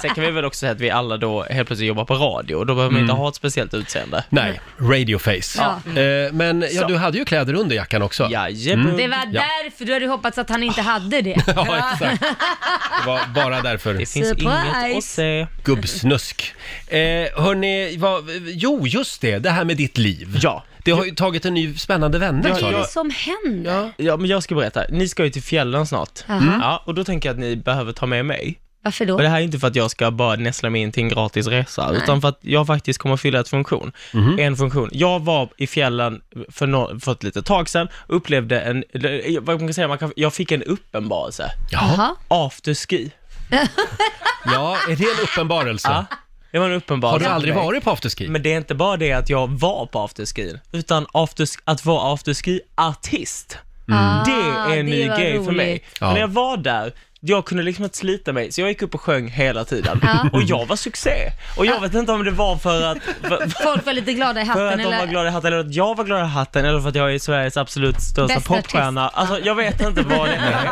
Speaker 10: Sen kan vi väl också säga att vi alla då helt plötsligt jobbar på radio och då behöver man
Speaker 1: Mm.
Speaker 10: inte ha ett speciellt utseende.
Speaker 1: Nej, radioface.
Speaker 2: Ja.
Speaker 1: Eh, men ja,
Speaker 10: Så.
Speaker 1: du hade ju kläder under jackan också. Mm.
Speaker 10: Jajamän.
Speaker 2: Det var
Speaker 1: Ja,
Speaker 2: därför du hade hoppats att han inte hade det.
Speaker 1: Ja, exakt. det var bara därför. Det
Speaker 10: finns inget att se.
Speaker 1: Gubbsnusk. Eh, hörni, vad, jo just det, det här med ditt liv. Ja. Det har ju tagit en ny spännande vändning.
Speaker 2: Vad
Speaker 1: sa
Speaker 2: är
Speaker 1: du.
Speaker 2: det som händer?
Speaker 10: Ja, men jag ska berätta. Ni ska ju till fjällen snart.
Speaker 1: Mm.
Speaker 2: Jaha.
Speaker 10: Ja, och då tänker jag att ni behöver ta med mig.
Speaker 2: Varför då?
Speaker 10: Och det här är inte för att jag ska bara näsla mig in till en gratis resa,
Speaker 2: Nej.
Speaker 10: utan för att jag faktiskt kommer att fylla ett funktion.
Speaker 5: Mhm.
Speaker 10: En funktion. Jag var i fjällen för, no- för ett litet tag sedan, upplevde en, eller, vad man kan säga, man kan, jag fick en uppenbarelse.
Speaker 2: Jaha.
Speaker 10: Afterski.
Speaker 1: ja, är det en uppenbarelse?
Speaker 10: Ja, det var en uppenbarelse.
Speaker 1: Har du aldrig
Speaker 10: för mig.
Speaker 1: varit på afterski?
Speaker 10: Men det är inte bara det att jag var på afterski, utan afters- att vara afterski-artist.
Speaker 5: Mm.
Speaker 10: Det är en
Speaker 5: Ah,
Speaker 10: ny
Speaker 5: det var
Speaker 10: grej för mig.
Speaker 5: roligt.
Speaker 10: För
Speaker 5: Ja.
Speaker 10: När jag var där, jag kunde liksom inte slita mig, så jag gick upp och sjöng hela tiden.
Speaker 2: Ja.
Speaker 10: Och jag var succé. Och
Speaker 5: Ah.
Speaker 10: jag vet inte om det var för att, för,
Speaker 2: Folk var lite glada i
Speaker 10: för att
Speaker 2: hatten
Speaker 10: de var
Speaker 2: eller?
Speaker 10: glada i hatten, eller att jag var glad i hatten, eller för att jag är Sveriges absolut största
Speaker 2: Bästa artist.
Speaker 10: popstjärna. Alltså, jag vet inte vad det är.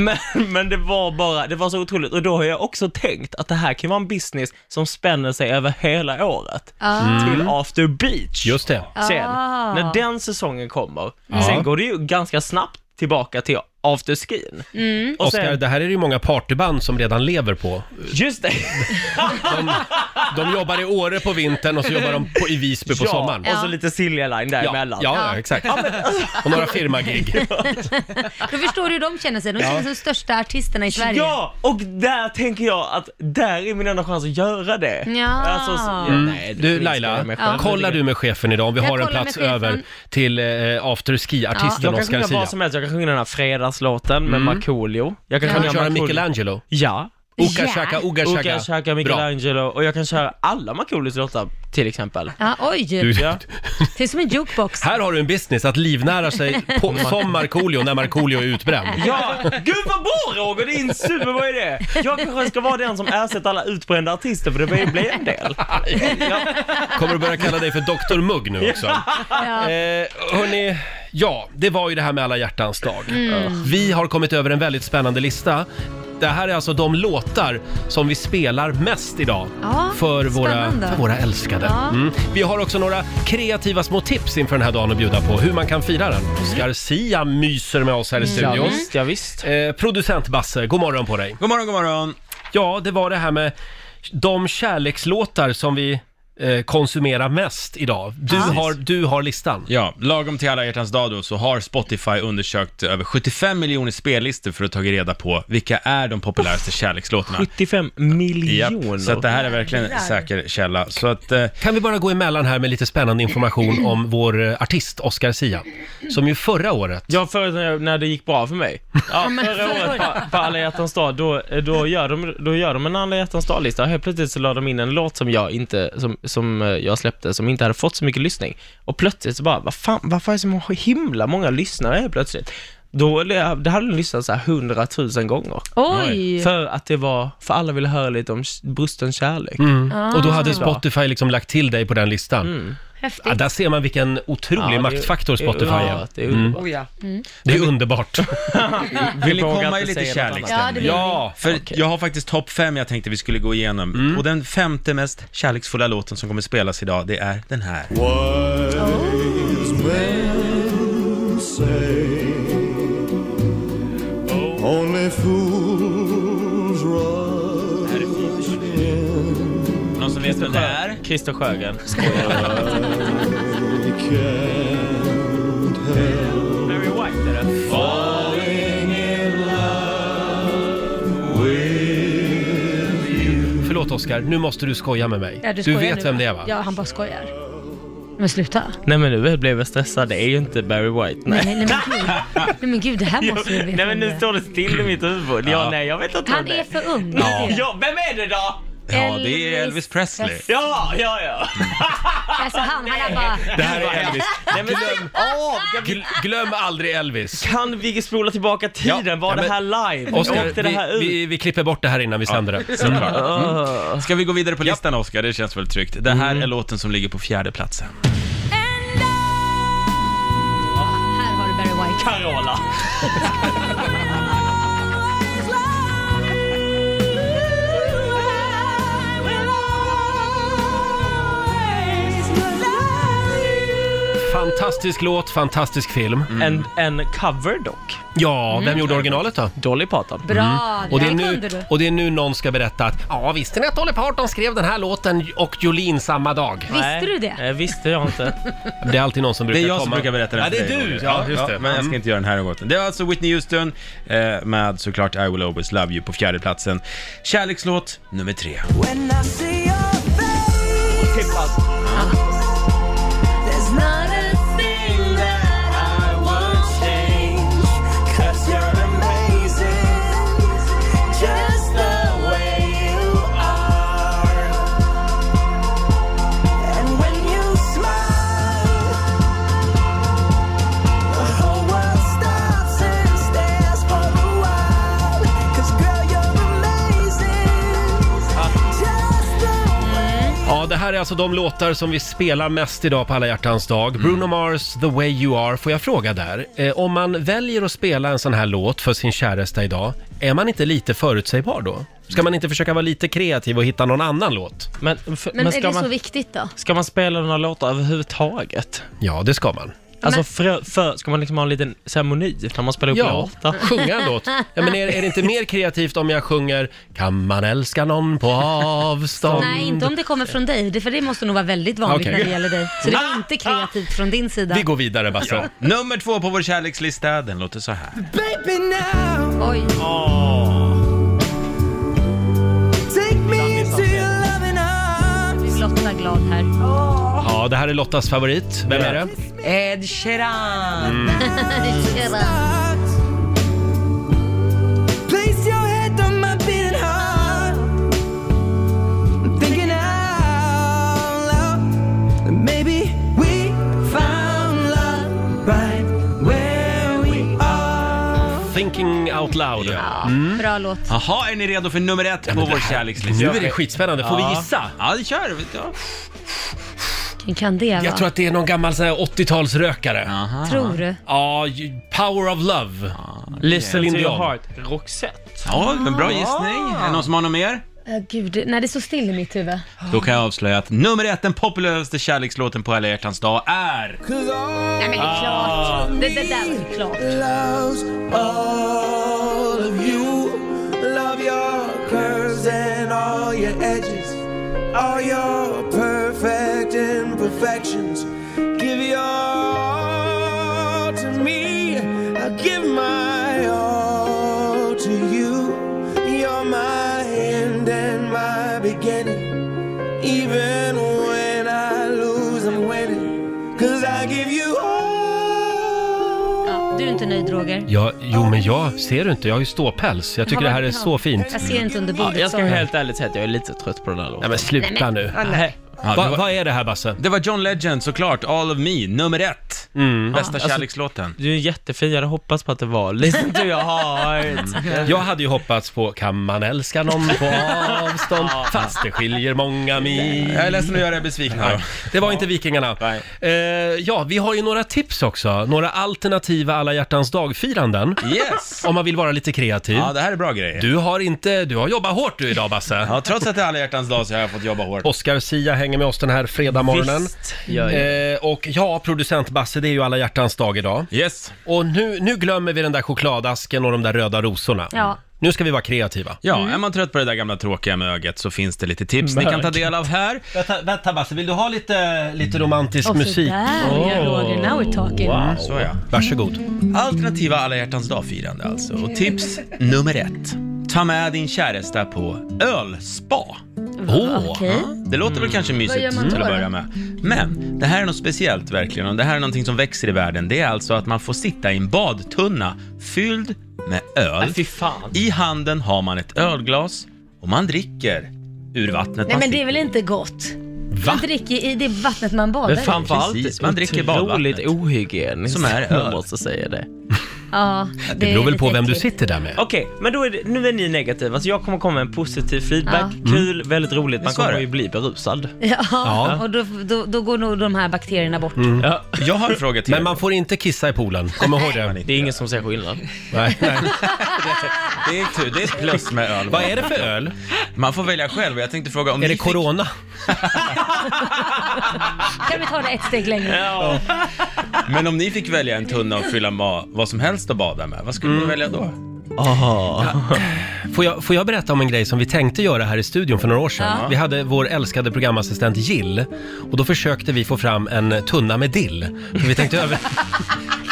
Speaker 10: Men, men det var bara, det var så otroligt. Och då har jag också tänkt att det här kan vara en business som spänner sig över hela året.
Speaker 5: Ah. Mm.
Speaker 10: Till after beach.
Speaker 1: Just det.
Speaker 10: Sen,
Speaker 5: Ah.
Speaker 10: när den säsongen kommer,
Speaker 1: Mm. Ja.
Speaker 10: sen går det ju ganska snabbt tillbaka till afterskin.
Speaker 5: Mm.
Speaker 10: Och
Speaker 1: Oskar,
Speaker 10: sen-
Speaker 1: det här är det ju många partyband som redan lever på.
Speaker 10: Just det!
Speaker 1: De, de jobbar i Åre på vintern och så jobbar de på, i Visby på
Speaker 10: ja,
Speaker 1: sommaren.
Speaker 10: och så lite Silja Line däremellan.
Speaker 1: Ja, ja, exakt.
Speaker 10: Ja, men, alltså,
Speaker 1: Och några firmagig.
Speaker 2: Då förstår du hur de känner sig. De
Speaker 10: Ja.
Speaker 2: känner sig som största artisterna i Sverige.
Speaker 10: Ja, och där tänker jag att där är min enda chans att göra det.
Speaker 2: Ja.
Speaker 10: Alltså, så, ja,
Speaker 1: Mm.
Speaker 10: nej,
Speaker 1: Du
Speaker 10: finns
Speaker 1: Laila,
Speaker 10: det med själv.
Speaker 1: kollar du med chefen idag om vi
Speaker 10: Jag
Speaker 1: har en
Speaker 10: kollar med
Speaker 1: plats
Speaker 10: chefen.
Speaker 1: över till eh, afterski-artisten
Speaker 10: jag kan
Speaker 1: Oscar
Speaker 10: sjunga
Speaker 1: Sia?
Speaker 10: vad som helst, jag kan sjunga den här fredagslåten med
Speaker 1: Mm.
Speaker 10: Markoolio. Jag kan
Speaker 1: Kan du
Speaker 10: sjunga
Speaker 1: köra
Speaker 10: Markoolio-
Speaker 1: Michelangelo?
Speaker 10: Ja.
Speaker 1: Uka Shaka, Uka Shaka.
Speaker 10: Uka
Speaker 1: Bra.
Speaker 10: Shaka, Michelangelo och jag kan köra alla Markoolios låtar till exempel.
Speaker 2: Ja, oj.
Speaker 1: Du-
Speaker 10: Ja.
Speaker 2: Det är som en jukebox.
Speaker 1: Här har du en business att livnära sig på, som Markoolio när Markoolio är utbränd.
Speaker 10: Ja, gud vad bra Roger, din superbra idé! Jag kanske ska vara den som ersätter alla utbrända artister för det blir blir en del.
Speaker 1: Kommer du börja kalla dig för Dr Mugg nu också?
Speaker 2: Ja.
Speaker 1: Eh, hörni, ja, det var ju det här med alla hjärtans dag.
Speaker 5: Mm.
Speaker 1: Vi har kommit över en väldigt spännande lista. Det här är alltså de låtar som vi spelar mest idag
Speaker 5: Ja,
Speaker 1: för, våra,
Speaker 5: spännande.
Speaker 1: för våra älskade.
Speaker 5: Ja.
Speaker 1: Mm. Vi har också några kreativa små tips inför den här dagen att bjuda på, hur man kan fira den. Oscar Sia myser med oss här i
Speaker 10: Mm.
Speaker 1: studion.
Speaker 10: Ja, visst, ja, visst.
Speaker 1: Eh, producent Basse, god morgon på dig.
Speaker 6: God morgon, god morgon.
Speaker 1: Ja, det var det här med de kärlekslåtar som vi eh, konsumerar mest idag. Du har du har listan.
Speaker 6: Ja, lagom till alla hjärtans dag då så har Spotify undersökt över 75 miljoner spellistor för att ta reda på vilka är de populäraste kärlekslåtarna.
Speaker 10: 75 miljoner.
Speaker 6: Japp, så att det här är verkligen en säker källa. Så att, eh,
Speaker 1: Kan vi bara gå emellan här med lite spännande information om vår eh, artist Oscar Sia, som ju förra året...
Speaker 10: Ja, förut när, jag- när det gick bra för mig. Ja, förra året på, på alla hjärtans dag, då, då, gör de, då gör de en alla hjärtans dag-lista. Helt plötsligt så la de in en låt som jag, inte, som, som eh, jag släppte, som inte hade fått så mycket lyssning. Och plötsligt så bara, vad fan, varför är det så himla många lyssnare helt plötsligt? Då, det hade den lyssnat så här hundratusen gånger.
Speaker 2: Oj.
Speaker 10: För att det var, för alla ville höra lite om k- brusten kärlek.
Speaker 1: Mm. Och då hade
Speaker 10: Så.
Speaker 1: Spotify liksom lagt till dig på den listan.
Speaker 2: häftigt.
Speaker 1: Ja, där ser man vilken otrolig
Speaker 10: Mm. Ja, det-
Speaker 1: maktfaktor Spotify är.
Speaker 10: ja, det är underbart.
Speaker 2: Oh, ja. mm.
Speaker 1: Det är underbart.
Speaker 6: Vill ni
Speaker 10: vågar
Speaker 6: komma i
Speaker 10: inte
Speaker 6: lite
Speaker 10: säga något
Speaker 6: kärleksstämning?
Speaker 10: annat. Ja, Mm. det vill
Speaker 6: Ja, för jag har faktiskt topp fem jag tänkte vi skulle gå igenom. Och den femte mest kärleksfulla låten som kommer spelas idag, det är den här.
Speaker 5: Wise men say only fools rush in.
Speaker 6: Någon som vet vem det är?
Speaker 10: Christer Sjögren.
Speaker 5: They can't help
Speaker 10: Barry White är det.
Speaker 5: falling in love with you.
Speaker 1: Förlåt Oscar, nu måste du skoja med mig.
Speaker 2: Ja,
Speaker 1: du
Speaker 2: skojar
Speaker 1: vet
Speaker 2: nu,
Speaker 1: vem det är va?
Speaker 2: Ja, han bara skojar. Men sluta.
Speaker 10: Nej men nu blev jag stressad, det är ju inte Barry White.
Speaker 2: Nej,
Speaker 10: Nej.
Speaker 2: nej, nej men gud. Nej men gud, det här måste vi
Speaker 10: Nej
Speaker 2: veta.
Speaker 10: men
Speaker 2: om det.
Speaker 10: nu står det still i mitt huvud. Ja, nej jag vet inte
Speaker 2: Han
Speaker 10: vem det
Speaker 2: är för ung.
Speaker 10: Ja.
Speaker 2: det är det.
Speaker 10: ja, vem är det då?
Speaker 6: Ja, det är Elvis Presley.
Speaker 10: Ja, ja, ja.
Speaker 2: Alltså han, han är bara...
Speaker 1: Det här är Elvis.
Speaker 10: Nej, men, glöm,
Speaker 1: Gl- glöm aldrig Elvis.
Speaker 10: kan vi spola tillbaka tiden?
Speaker 1: Ja,
Speaker 10: Var
Speaker 1: ja,
Speaker 10: det
Speaker 1: men-
Speaker 10: här live?
Speaker 1: Oscar,
Speaker 10: Åkte det här
Speaker 1: vi,
Speaker 10: ut?
Speaker 1: vi, vi klipper bort det här innan vi sänder det. Mm.
Speaker 10: Ah.
Speaker 6: Mm. Ska vi gå vidare på listan Oskar? Det känns väl tryggt. Det här är låten som ligger på fjärde platsen.
Speaker 2: Här har du Barry White.
Speaker 10: Carola.
Speaker 1: Fantastisk låt, fantastisk film.
Speaker 10: Mm. En, en cover dock.
Speaker 1: Ja, vem gjorde originalet då? Mm.
Speaker 10: Dolly Parton.
Speaker 2: Mm. Bra,
Speaker 1: Och det, är
Speaker 2: där
Speaker 1: nu,
Speaker 2: kunde du.
Speaker 1: och det är nu någon ska berätta att ja, visste ni att Dolly Parton skrev den här låten och Jolene samma dag?
Speaker 2: Visste du det?
Speaker 10: Eh, visste jag inte.
Speaker 1: Det är alltid någon som
Speaker 6: Det
Speaker 1: brukar
Speaker 6: är jag
Speaker 1: komma.
Speaker 6: som brukar berätta den
Speaker 1: Ja, det
Speaker 6: för
Speaker 1: är
Speaker 6: dig,
Speaker 1: du!
Speaker 6: Roger.
Speaker 1: Ja, just det. Mm.
Speaker 6: men jag ska inte göra den här någon gång. Det var alltså Whitney Houston eh, med såklart I will always love you på fjärde platsen. Kärlekslåt nummer tre.
Speaker 5: When I see your face, there's not a thing that I won't change. you you're amazing, just the way you are. And when you smile, the whole world stops and stares for a while. 'Cause girl, you're amazing, just the way
Speaker 1: Ja, det här är alltså de låtar som vi spelar mest idag på Alla hjärtans dag.
Speaker 10: Mm.
Speaker 1: Bruno Mars, The Way You Are. Får jag fråga där, eh, om man väljer att spela en sån här låt för sin käresta idag, är man inte lite förutsägbar då? Ska man inte försöka vara lite kreativ och hitta någon annan låt?
Speaker 10: Men, f-
Speaker 11: Men,
Speaker 10: men
Speaker 11: är
Speaker 10: ska,
Speaker 11: det så
Speaker 10: man,
Speaker 11: viktigt då?
Speaker 10: ska man spela några låtar överhuvudtaget?
Speaker 1: Ja, det ska man.
Speaker 10: Alltså för, för, ska man liksom ha en liten ceremoni när man spelar upp
Speaker 1: Ja,
Speaker 10: låtar?
Speaker 1: sjunga en låt. Ja, men är, är det inte mer kreativt om jag sjunger “Kan man älska någon på avstånd?”
Speaker 2: Nej, inte om det kommer från dig. Det- För det måste nog vara väldigt vanligt
Speaker 1: Okej. Ah!
Speaker 2: när det gäller dig. Så det är inte kreativt från din sida.
Speaker 1: Vi går vidare Basse.
Speaker 6: Ja. Nummer två på vår kärlekslista, den låter så här.
Speaker 5: Baby now,
Speaker 2: Oj.
Speaker 5: take me into your loving arms.
Speaker 2: Lotta glad här.
Speaker 1: Ja, det här är Lottas favorit. Vem är det?
Speaker 3: Ed Sheeran.
Speaker 1: Mm.
Speaker 5: Place your head on my beating heart. I'm thinking out loud that maybe we found love right where we are.
Speaker 1: Thinking out loud.
Speaker 2: Bra låt.
Speaker 6: Jaha, är ni redo för nummer ett på vår
Speaker 1: Nu
Speaker 6: kärlekslista?
Speaker 1: är det skitspännande. Får vi gissa?
Speaker 6: Ja, det kör vi. Ja.
Speaker 2: Vilken kan det vara?
Speaker 1: Jag tror att det är någon gammal sån här 80-talsrökare. Ja,
Speaker 2: Tror du?
Speaker 1: ju- Power of Love.
Speaker 10: Listen
Speaker 1: Celine
Speaker 10: to your
Speaker 1: Dion.
Speaker 10: heart, Roxette.
Speaker 6: Ja, men bra gissning. Är det någon som har något mer?
Speaker 2: Äh, gud, det- nej det står still i mitt huvud.
Speaker 6: Då kan jag avslöja att nummer ett, den populäraste kärlekslåten på alla hjärtans dag är...
Speaker 2: Nej men det är klart. Det, det där var ju klart.
Speaker 5: Loves all of you. Love your curves and all your edges. All your perfect imperfections. Give your all to me. I give my all to you. You're my end and my beginning. Even when I lose, I'm winning. Cause I give you all.
Speaker 2: Ja, du är inte nöjd Roger?
Speaker 1: Ja, jo men jag ser du inte, jag har ju ståpäls. Jag tycker det här är så fint.
Speaker 2: Jag ser inte under
Speaker 10: Ja,
Speaker 2: bordet.
Speaker 10: jag ska
Speaker 2: sorry.
Speaker 10: helt ärligt säga att jag är lite trött på den här låten.
Speaker 1: Nej men sluta nu.
Speaker 10: Nej.
Speaker 6: Ja, det,
Speaker 1: Va,
Speaker 6: var,
Speaker 1: vad är det här Basse?
Speaker 6: det var John Legend såklart, All of Me, nummer ett.
Speaker 1: Mm.
Speaker 6: Bästa kärlekslåten?
Speaker 10: Du är jättefin, jag hade hoppats på att det var Listen to your heart.
Speaker 1: Jag hade ju hoppats på Kan man älska någon
Speaker 10: Mm.
Speaker 1: på avstånd fast det skiljer många mil?
Speaker 6: Jag är ledsen att göra er besvikna.
Speaker 1: Nej, det var inte Vikingarna. Eh, ja, vi har ju några tips också. Några alternativa alla hjärtans dag-firanden.
Speaker 6: Yes!
Speaker 1: Om man vill vara lite kreativ.
Speaker 6: Ja, det här är bra grejer.
Speaker 1: Du har inte, du har jobbat hårt du idag Basse.
Speaker 6: Ja, trots att det är alla hjärtans dag så har jag fått jobba hårt.
Speaker 1: Oscar Sia hänger med oss den här fredagmorgonen.
Speaker 10: Visst, gör
Speaker 1: Eh, och ja, producent Basse, det är ju alla hjärtans dag idag.
Speaker 6: Yes.
Speaker 1: Och nu, nu glömmer vi den där chokladasken och de där röda rosorna.
Speaker 2: Ja.
Speaker 1: Nu ska vi vara kreativa.
Speaker 6: Ja, är man trött på det där gamla tråkiga möget så finns det lite tips ni kan ta del av här.
Speaker 1: Vänta, vänta Basse, vill du ha lite, lite romantisk
Speaker 2: Och så
Speaker 1: musik? Mm.
Speaker 2: där ja, Roger, now we're talking. Mm.
Speaker 6: Mm, Så ja.
Speaker 1: Varsågod.
Speaker 6: Alternativa alla hjärtans dag-firande alltså. Och tips nummer ett. Ta med din käresta på ölspa.
Speaker 1: Åh!
Speaker 2: Okej. Mm.
Speaker 6: Det låter väl kanske
Speaker 2: Vad gör
Speaker 6: mysigt
Speaker 2: man
Speaker 6: till
Speaker 2: då
Speaker 6: att
Speaker 2: då?
Speaker 6: börja med. Men det här är något speciellt verkligen och det här är någonting som växer i världen. Det är alltså att man får sitta i en badtunna fylld med öl.
Speaker 10: Nej, Äh, fy fan.
Speaker 6: I handen har man ett ölglas och man dricker ur vattnet
Speaker 2: Nej
Speaker 6: man
Speaker 2: men det är
Speaker 6: sitter
Speaker 2: väl
Speaker 6: i.
Speaker 2: inte gott?
Speaker 1: Va?
Speaker 2: Man dricker i det vattnet man badar
Speaker 10: Men
Speaker 2: i.
Speaker 10: framförallt
Speaker 6: Precis, man dricker
Speaker 10: otroligt
Speaker 6: badvattnet.
Speaker 10: ohygieniskt.
Speaker 6: Som är öl.
Speaker 10: Jag måste säga det.
Speaker 2: Ja, det,
Speaker 1: Det beror
Speaker 2: är
Speaker 1: väl på
Speaker 2: lite
Speaker 1: vem du
Speaker 2: äckligt.
Speaker 1: sitter där med.
Speaker 10: Okej, men då är det, nu är ni negativa, så jag kommer komma med en positiv feedback.
Speaker 2: Mm.
Speaker 10: Kul, väldigt roligt, man
Speaker 6: Så är
Speaker 10: kommer
Speaker 6: det.
Speaker 10: ju bli berusad.
Speaker 2: Ja,
Speaker 1: Ja.
Speaker 2: och då, då, då går nog de här bakterierna bort.
Speaker 1: Mm.
Speaker 10: Ja.
Speaker 6: Jag har en fråga till
Speaker 1: Men
Speaker 6: er.
Speaker 1: man får inte kissa i poolen, kom ihåg det.
Speaker 10: Det är ingen som ser skillnad.
Speaker 1: Nej, nej.
Speaker 6: Det är tur, det är plus med öl.
Speaker 1: Vad är det för öl?
Speaker 6: Man får välja själv jag tänkte fråga om
Speaker 1: Är
Speaker 6: ni
Speaker 1: det
Speaker 6: fick-
Speaker 1: corona?
Speaker 2: Kan vi ta det ett steg längre?
Speaker 6: Men om ni fick välja en tunna och fylla med vad som helst att bada med, vad
Speaker 1: Mm.
Speaker 6: skulle ni välja då?
Speaker 1: Får jag, får jag berätta om en grej som vi tänkte göra här i studion för några år sedan?
Speaker 2: Ja.
Speaker 1: Vi hade vår älskade programassistent Jill och då försökte vi få fram en tunna med dill. För Vi tänkte, över...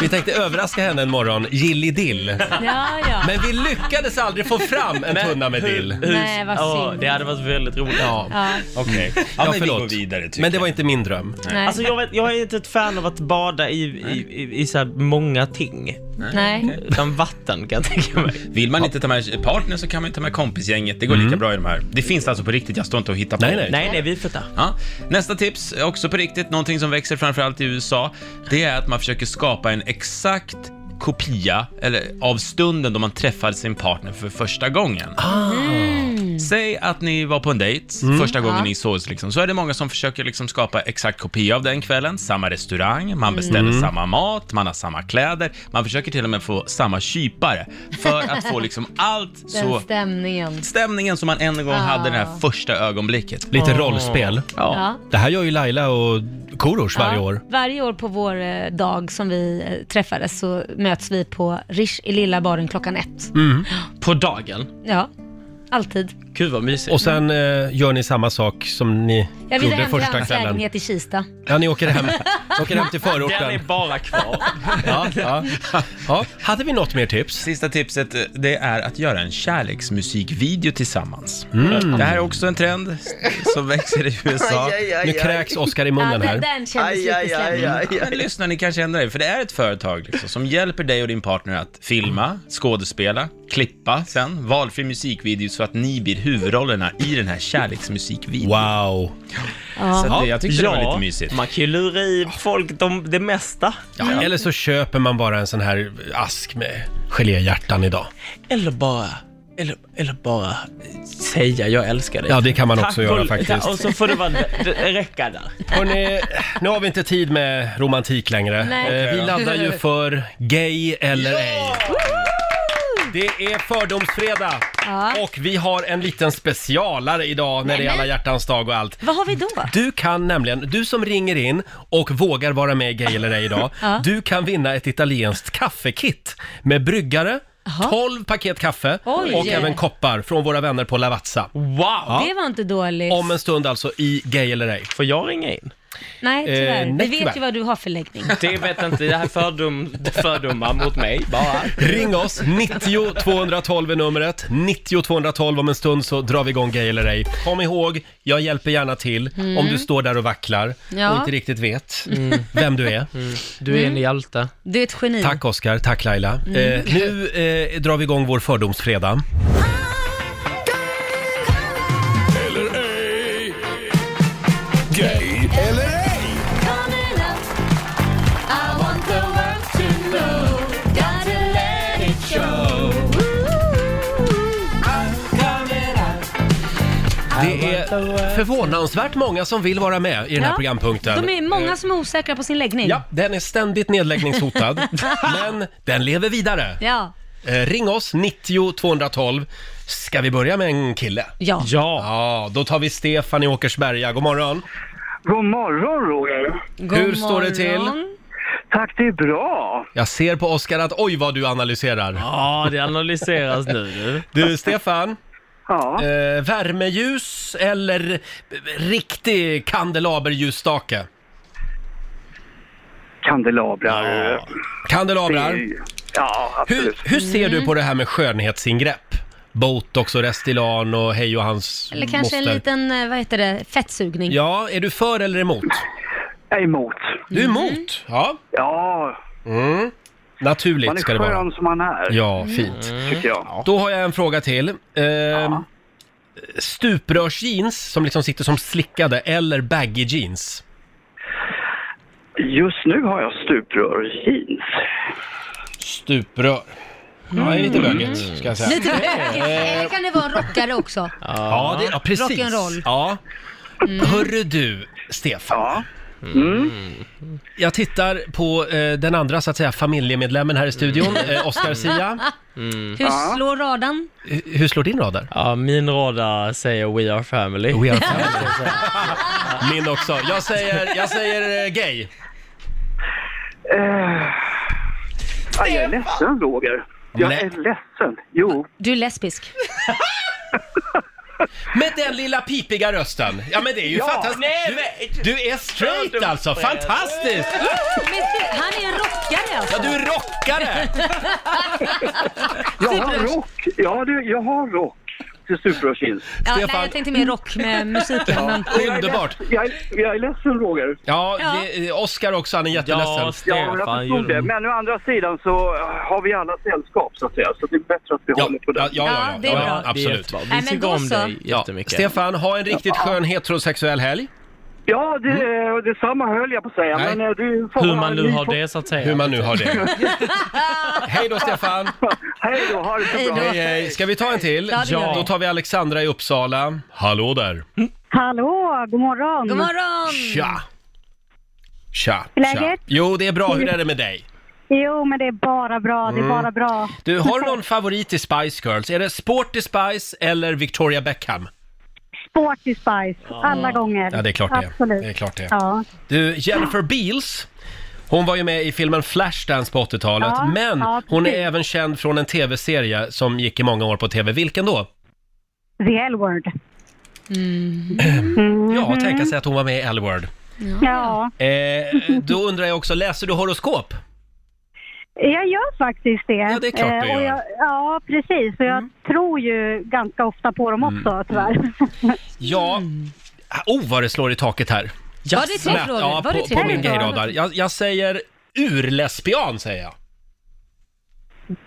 Speaker 1: vi tänkte överraska henne en morgon, Jill i dill.
Speaker 2: Ja, ja.
Speaker 1: Men vi lyckades aldrig få fram en tunna med dill.
Speaker 2: Nej, vad
Speaker 10: Ja,
Speaker 2: synd.
Speaker 10: det hade varit väldigt roligt.
Speaker 1: Ja,
Speaker 2: Ja,
Speaker 6: Okej, ja,
Speaker 1: ja
Speaker 6: men vi går
Speaker 1: förlåt.
Speaker 6: vidare tycker
Speaker 1: Men det var inte min dröm.
Speaker 2: nej.
Speaker 10: Alltså jag, vet, jag är inte ett fan av att bada i, i, i, i så här många ting.
Speaker 2: nej.
Speaker 10: Utan vatten kan jag tänka mig.
Speaker 6: jag. Vill man inte ta med partner så kan man ju ta med kompisgänget, det går lika bra i de här. Det finns alltså på riktigt, jag står inte och hittar på.
Speaker 1: Mm. Nej, nej.
Speaker 10: Nej, nej, vi får ta.
Speaker 6: Ja. Nästa tips, också på riktigt, någonting som växer framförallt i USA, det är att man försöker skapa en exakt kopia eller, av stunden då man träffade sin partner för första gången.
Speaker 1: Ah. Mm.
Speaker 6: Säg att ni var på en dejt första gången ni sågs, liksom, så är det många som försöker liksom, skapa exakt kopia av den kvällen, samma restaurang,
Speaker 1: Mm.
Speaker 6: man beställer samma mat, man har samma kläder, man försöker till och med få samma kypare för att få liksom, allt
Speaker 2: Den
Speaker 6: så
Speaker 2: stämningen.
Speaker 6: stämningen som man en gång hade det här första ögonblicket.
Speaker 1: Ah. Lite rollspel.
Speaker 2: Ja.
Speaker 1: Det här gör ju Laila och Korosh varje
Speaker 2: Ja,
Speaker 1: år.
Speaker 2: Varje år på vår eh, dag som vi eh, träffades så möts vi på Rish i lilla baren klockan ett.
Speaker 1: Mm.
Speaker 10: På dagen.
Speaker 2: Ja, alltid.
Speaker 10: Gud vad mysigt.
Speaker 1: Och sen eh, gör ni samma sak som ni
Speaker 2: Jag ville
Speaker 1: gjorde
Speaker 2: hem till
Speaker 1: första
Speaker 2: hans
Speaker 1: kvällen.
Speaker 2: lägenhet i Kista.
Speaker 1: Ja, ni åker hem, åker hem till
Speaker 10: Den är
Speaker 1: förorten.
Speaker 10: bara kvar.
Speaker 1: Ja, ja. Ja. Hade vi något mer tips?
Speaker 6: Sista tipset, eh, det är att göra en kärleksmusikvideo tillsammans.
Speaker 1: Mm.
Speaker 6: Det här är också en trend som växer i USA.
Speaker 1: Nu kräks Oscar i
Speaker 2: Ja,
Speaker 1: munnen
Speaker 2: den,
Speaker 1: här.
Speaker 2: den kändes lite slemmig.
Speaker 6: Men lyssna, ni kanske ändrar er, för det är ett företag liksom, som hjälper dig och din partner att filma, skådespela, klippa sen, valfri musikvideo så att ni blir huvudrollerna i den här kärleksmusikvideon.
Speaker 1: Wow.
Speaker 6: Så att det, jag tyckte det var
Speaker 10: Ja,
Speaker 6: lite mysigt.
Speaker 10: man kan ju lura i folk de, det mesta.
Speaker 2: Mm.
Speaker 1: Ja. Eller så köper man bara en sån här ask med geléhjärtan idag.
Speaker 10: Eller bara, eller, eller bara säga jag älskar dig.
Speaker 1: Ja, det kan man också göra
Speaker 10: och- Och
Speaker 1: faktiskt.
Speaker 10: så får det vara, det räcka där.
Speaker 1: Hörrni, nu har vi inte tid med romantik längre.
Speaker 2: Nej.
Speaker 1: Eh, Vi laddar ju för gay eller ej. Det är fördomsfredag
Speaker 2: Ja.
Speaker 1: och vi har en liten specialare idag när det är alla hjärtans dag och allt.
Speaker 2: Vad har vi då?
Speaker 1: Du kan nämligen, du som ringer in och vågar vara med i Gay eller ej idag,
Speaker 2: Ja.
Speaker 1: du kan vinna ett italienskt kaffekit med bryggare, 12 paket kaffe
Speaker 2: Oj.
Speaker 1: och även koppar från våra vänner på Lavazza.
Speaker 10: Wow!
Speaker 2: Det var inte dåligt.
Speaker 1: Om en stund alltså i Gay eller ej.
Speaker 10: Får jag ringa in?
Speaker 2: Nej, tyvärr.
Speaker 1: Eh, nej,
Speaker 2: vi vet
Speaker 1: tyvärr.
Speaker 2: ju vad du har för läggning.
Speaker 10: Det vet inte, det här är fördom, fördomar mot mig bara.
Speaker 1: Ring oss, 90 212 är numret. 90 212 om en stund så drar vi igång Gay eller ej. Kom ihåg, jag hjälper gärna till om du står där och vacklar
Speaker 2: Mm. Ja.
Speaker 1: och inte riktigt vet vem du är.
Speaker 10: Mm. Du är en hjälte.
Speaker 2: Du är ett geni.
Speaker 1: Tack Oskar, tack Laila.
Speaker 2: Mm.
Speaker 1: Eh, nu eh, drar vi igång vår fördomsfredag.
Speaker 4: Eller ej. Gay eller ej.
Speaker 5: I want
Speaker 1: Förvånansvärt många som vill vara med i den här
Speaker 2: Ja,
Speaker 1: programpunkten. Eh,
Speaker 2: De är många som är osäkra på sin läggning.
Speaker 1: Ja, den är ständigt nedläggningshotad, men den lever vidare.
Speaker 2: Ja.
Speaker 1: Eh, ring oss, 90 212. Ska vi börja med en kille?
Speaker 2: Ja.
Speaker 1: Ja. då tar vi Stefan i Åkersberga. God morgon.
Speaker 11: God morgon Roger!
Speaker 1: God Hur står det till?
Speaker 11: Tack, det är bra!
Speaker 1: Jag ser på Oskar att oj vad du analyserar. Ja, det analyseras nu. Du, Stefan.
Speaker 11: Ja.
Speaker 1: Eh, värmeljus eller eh, riktig kandelaberljusstake?
Speaker 11: Kandelabrar.
Speaker 1: Kandelabrar?
Speaker 11: Det är- Ja,
Speaker 1: Hur,
Speaker 11: absolut.
Speaker 1: hur ser
Speaker 2: Mm.
Speaker 1: du på det här med skönhetsingrepp? Botox och Restylane och hej och hans
Speaker 2: Eller kanske en
Speaker 1: moster.
Speaker 2: liten, eh, vad heter det, fettsugning.
Speaker 1: Ja, är du för eller emot?
Speaker 11: Jag är emot.
Speaker 1: Du är
Speaker 2: Mm.
Speaker 1: emot? Ja.
Speaker 11: Ja.
Speaker 1: Mm.
Speaker 11: Man
Speaker 1: Naturligt
Speaker 11: är
Speaker 1: ska det vara.
Speaker 11: skön som man är. Mm.
Speaker 1: Ja, fint.
Speaker 11: Tycker jag.
Speaker 1: Då har jag en fråga till. Eh, Stuprörsjeans som liksom sitter som slickade eller baggy jeans?
Speaker 11: Just nu har jag stuprör jeans.
Speaker 1: Stuprör. Ja, det är lite bögigt ska jag säga. Eh,
Speaker 2: Lite bökigt. Eller kan det vara en rockare också?
Speaker 1: Ja, det, ja precis.
Speaker 2: Rock'n'roll.
Speaker 1: Ja. Hörru du, Stefan. Mm.
Speaker 11: Mm.
Speaker 1: Jag tittar på eh, den andra så att säga familjemedlemmen här i studion,
Speaker 10: Mm.
Speaker 1: eh, Oscar Sia. Mm.
Speaker 2: Hur slår radan?
Speaker 1: Hur, hur slår din radar?
Speaker 10: Ja, min radar säger We Are Family.
Speaker 1: We are Min också. Jag säger, jag säger eh, gay.
Speaker 11: Ja, jag är ledsen Roger. Jag
Speaker 1: Nej.
Speaker 11: är ledsen. Jo.
Speaker 2: Du är lesbisk.
Speaker 1: Med den lilla pipiga rösten. Ja men det är ju
Speaker 5: Ja.
Speaker 1: fantastiskt. Du, du är straight alltså, fantastiskt!
Speaker 2: Men du, han är en rockare alltså.
Speaker 1: Ja, du är rockare!
Speaker 11: Jag har rock. Ja, du, jag har rock till stuprör jeans.
Speaker 2: Ja, nej, jag tänkte mer rock med musiken. Men...
Speaker 1: Underbart!
Speaker 11: Jag är, jag är ledsen Roger.
Speaker 1: Ja,
Speaker 2: Ja.
Speaker 1: det- eh, Oscar också, han är jätteledsen.
Speaker 11: Ja, jag förstod det. Men å andra sidan så har vi alla sällskap så att säga. Så det är bättre att vi håller på det.
Speaker 1: Ja, ja, ja,
Speaker 2: det är
Speaker 1: ja,
Speaker 2: bra.
Speaker 10: Det är
Speaker 1: Absolut.
Speaker 10: jättebra. Vi
Speaker 2: Nej, men
Speaker 10: tycker
Speaker 2: då
Speaker 10: om
Speaker 2: så.
Speaker 10: dig jättemycket.
Speaker 1: Stefan, ha en riktigt skön heterosexuell helg.
Speaker 11: Ja, det, mm. detsamma höll jag på att säga.
Speaker 1: Nej.
Speaker 11: Men eh, du får
Speaker 10: Hur
Speaker 11: ha
Speaker 10: man
Speaker 11: en
Speaker 10: nu
Speaker 11: ny
Speaker 10: har
Speaker 11: po-
Speaker 10: det så att säga.
Speaker 1: Hur man nu har det. Hej då Stefan!
Speaker 11: Hej då, ha det så bra.
Speaker 1: Hej hej! Ska vi ta en till?
Speaker 2: Ja, det gör vi.
Speaker 1: Då tar vi Alexandra i Uppsala. Hallå där!
Speaker 9: Hallå, god morgon.
Speaker 2: God morgon!
Speaker 1: Tja! Tja!
Speaker 9: Hur är
Speaker 1: tja.
Speaker 9: läget?
Speaker 1: Jo, det är bra. Hur är det med dig?
Speaker 9: Jo, men det är bara bra. Det är
Speaker 1: Mm.
Speaker 9: bara bra.
Speaker 1: Du, har du någon favorit i Spice Girls? Är det Sporty Spice eller Victoria Beckham?
Speaker 9: Sporty Spice, alla gånger.
Speaker 1: Ja, det är klart det.
Speaker 9: Absolut.
Speaker 1: Det är klart det.
Speaker 9: Ja.
Speaker 1: Du, Jennifer Beals, hon var ju med i filmen Flashdance på 80-talet,
Speaker 9: Ja,
Speaker 1: men
Speaker 9: ja,
Speaker 1: hon är
Speaker 9: precis.
Speaker 1: även känd från en tv-serie som gick i många år på tv. Vilken då?
Speaker 9: The L-word.
Speaker 2: Mm. Mhm.
Speaker 1: Ja, tänka sig att hon var med i L-Word.
Speaker 9: Ja,
Speaker 1: Eh, då undrar jag också, läser du horoskop?
Speaker 9: jag gör faktiskt det.
Speaker 1: Ja, det är klart du
Speaker 9: Eh, och
Speaker 1: gör.
Speaker 9: Jag, ja, precis. Och jag
Speaker 2: Mm.
Speaker 9: tror ju ganska ofta på dem
Speaker 1: Mm.
Speaker 9: också, tyvärr.
Speaker 1: Ja. Oh, vad det slår i taket här.
Speaker 2: Mm. Var det tre frågor?
Speaker 1: Ja,
Speaker 2: Var det
Speaker 1: på,
Speaker 2: tre
Speaker 1: på
Speaker 2: frågor?
Speaker 1: min gayradar. Jag, jag säger urlesbian, säger jag.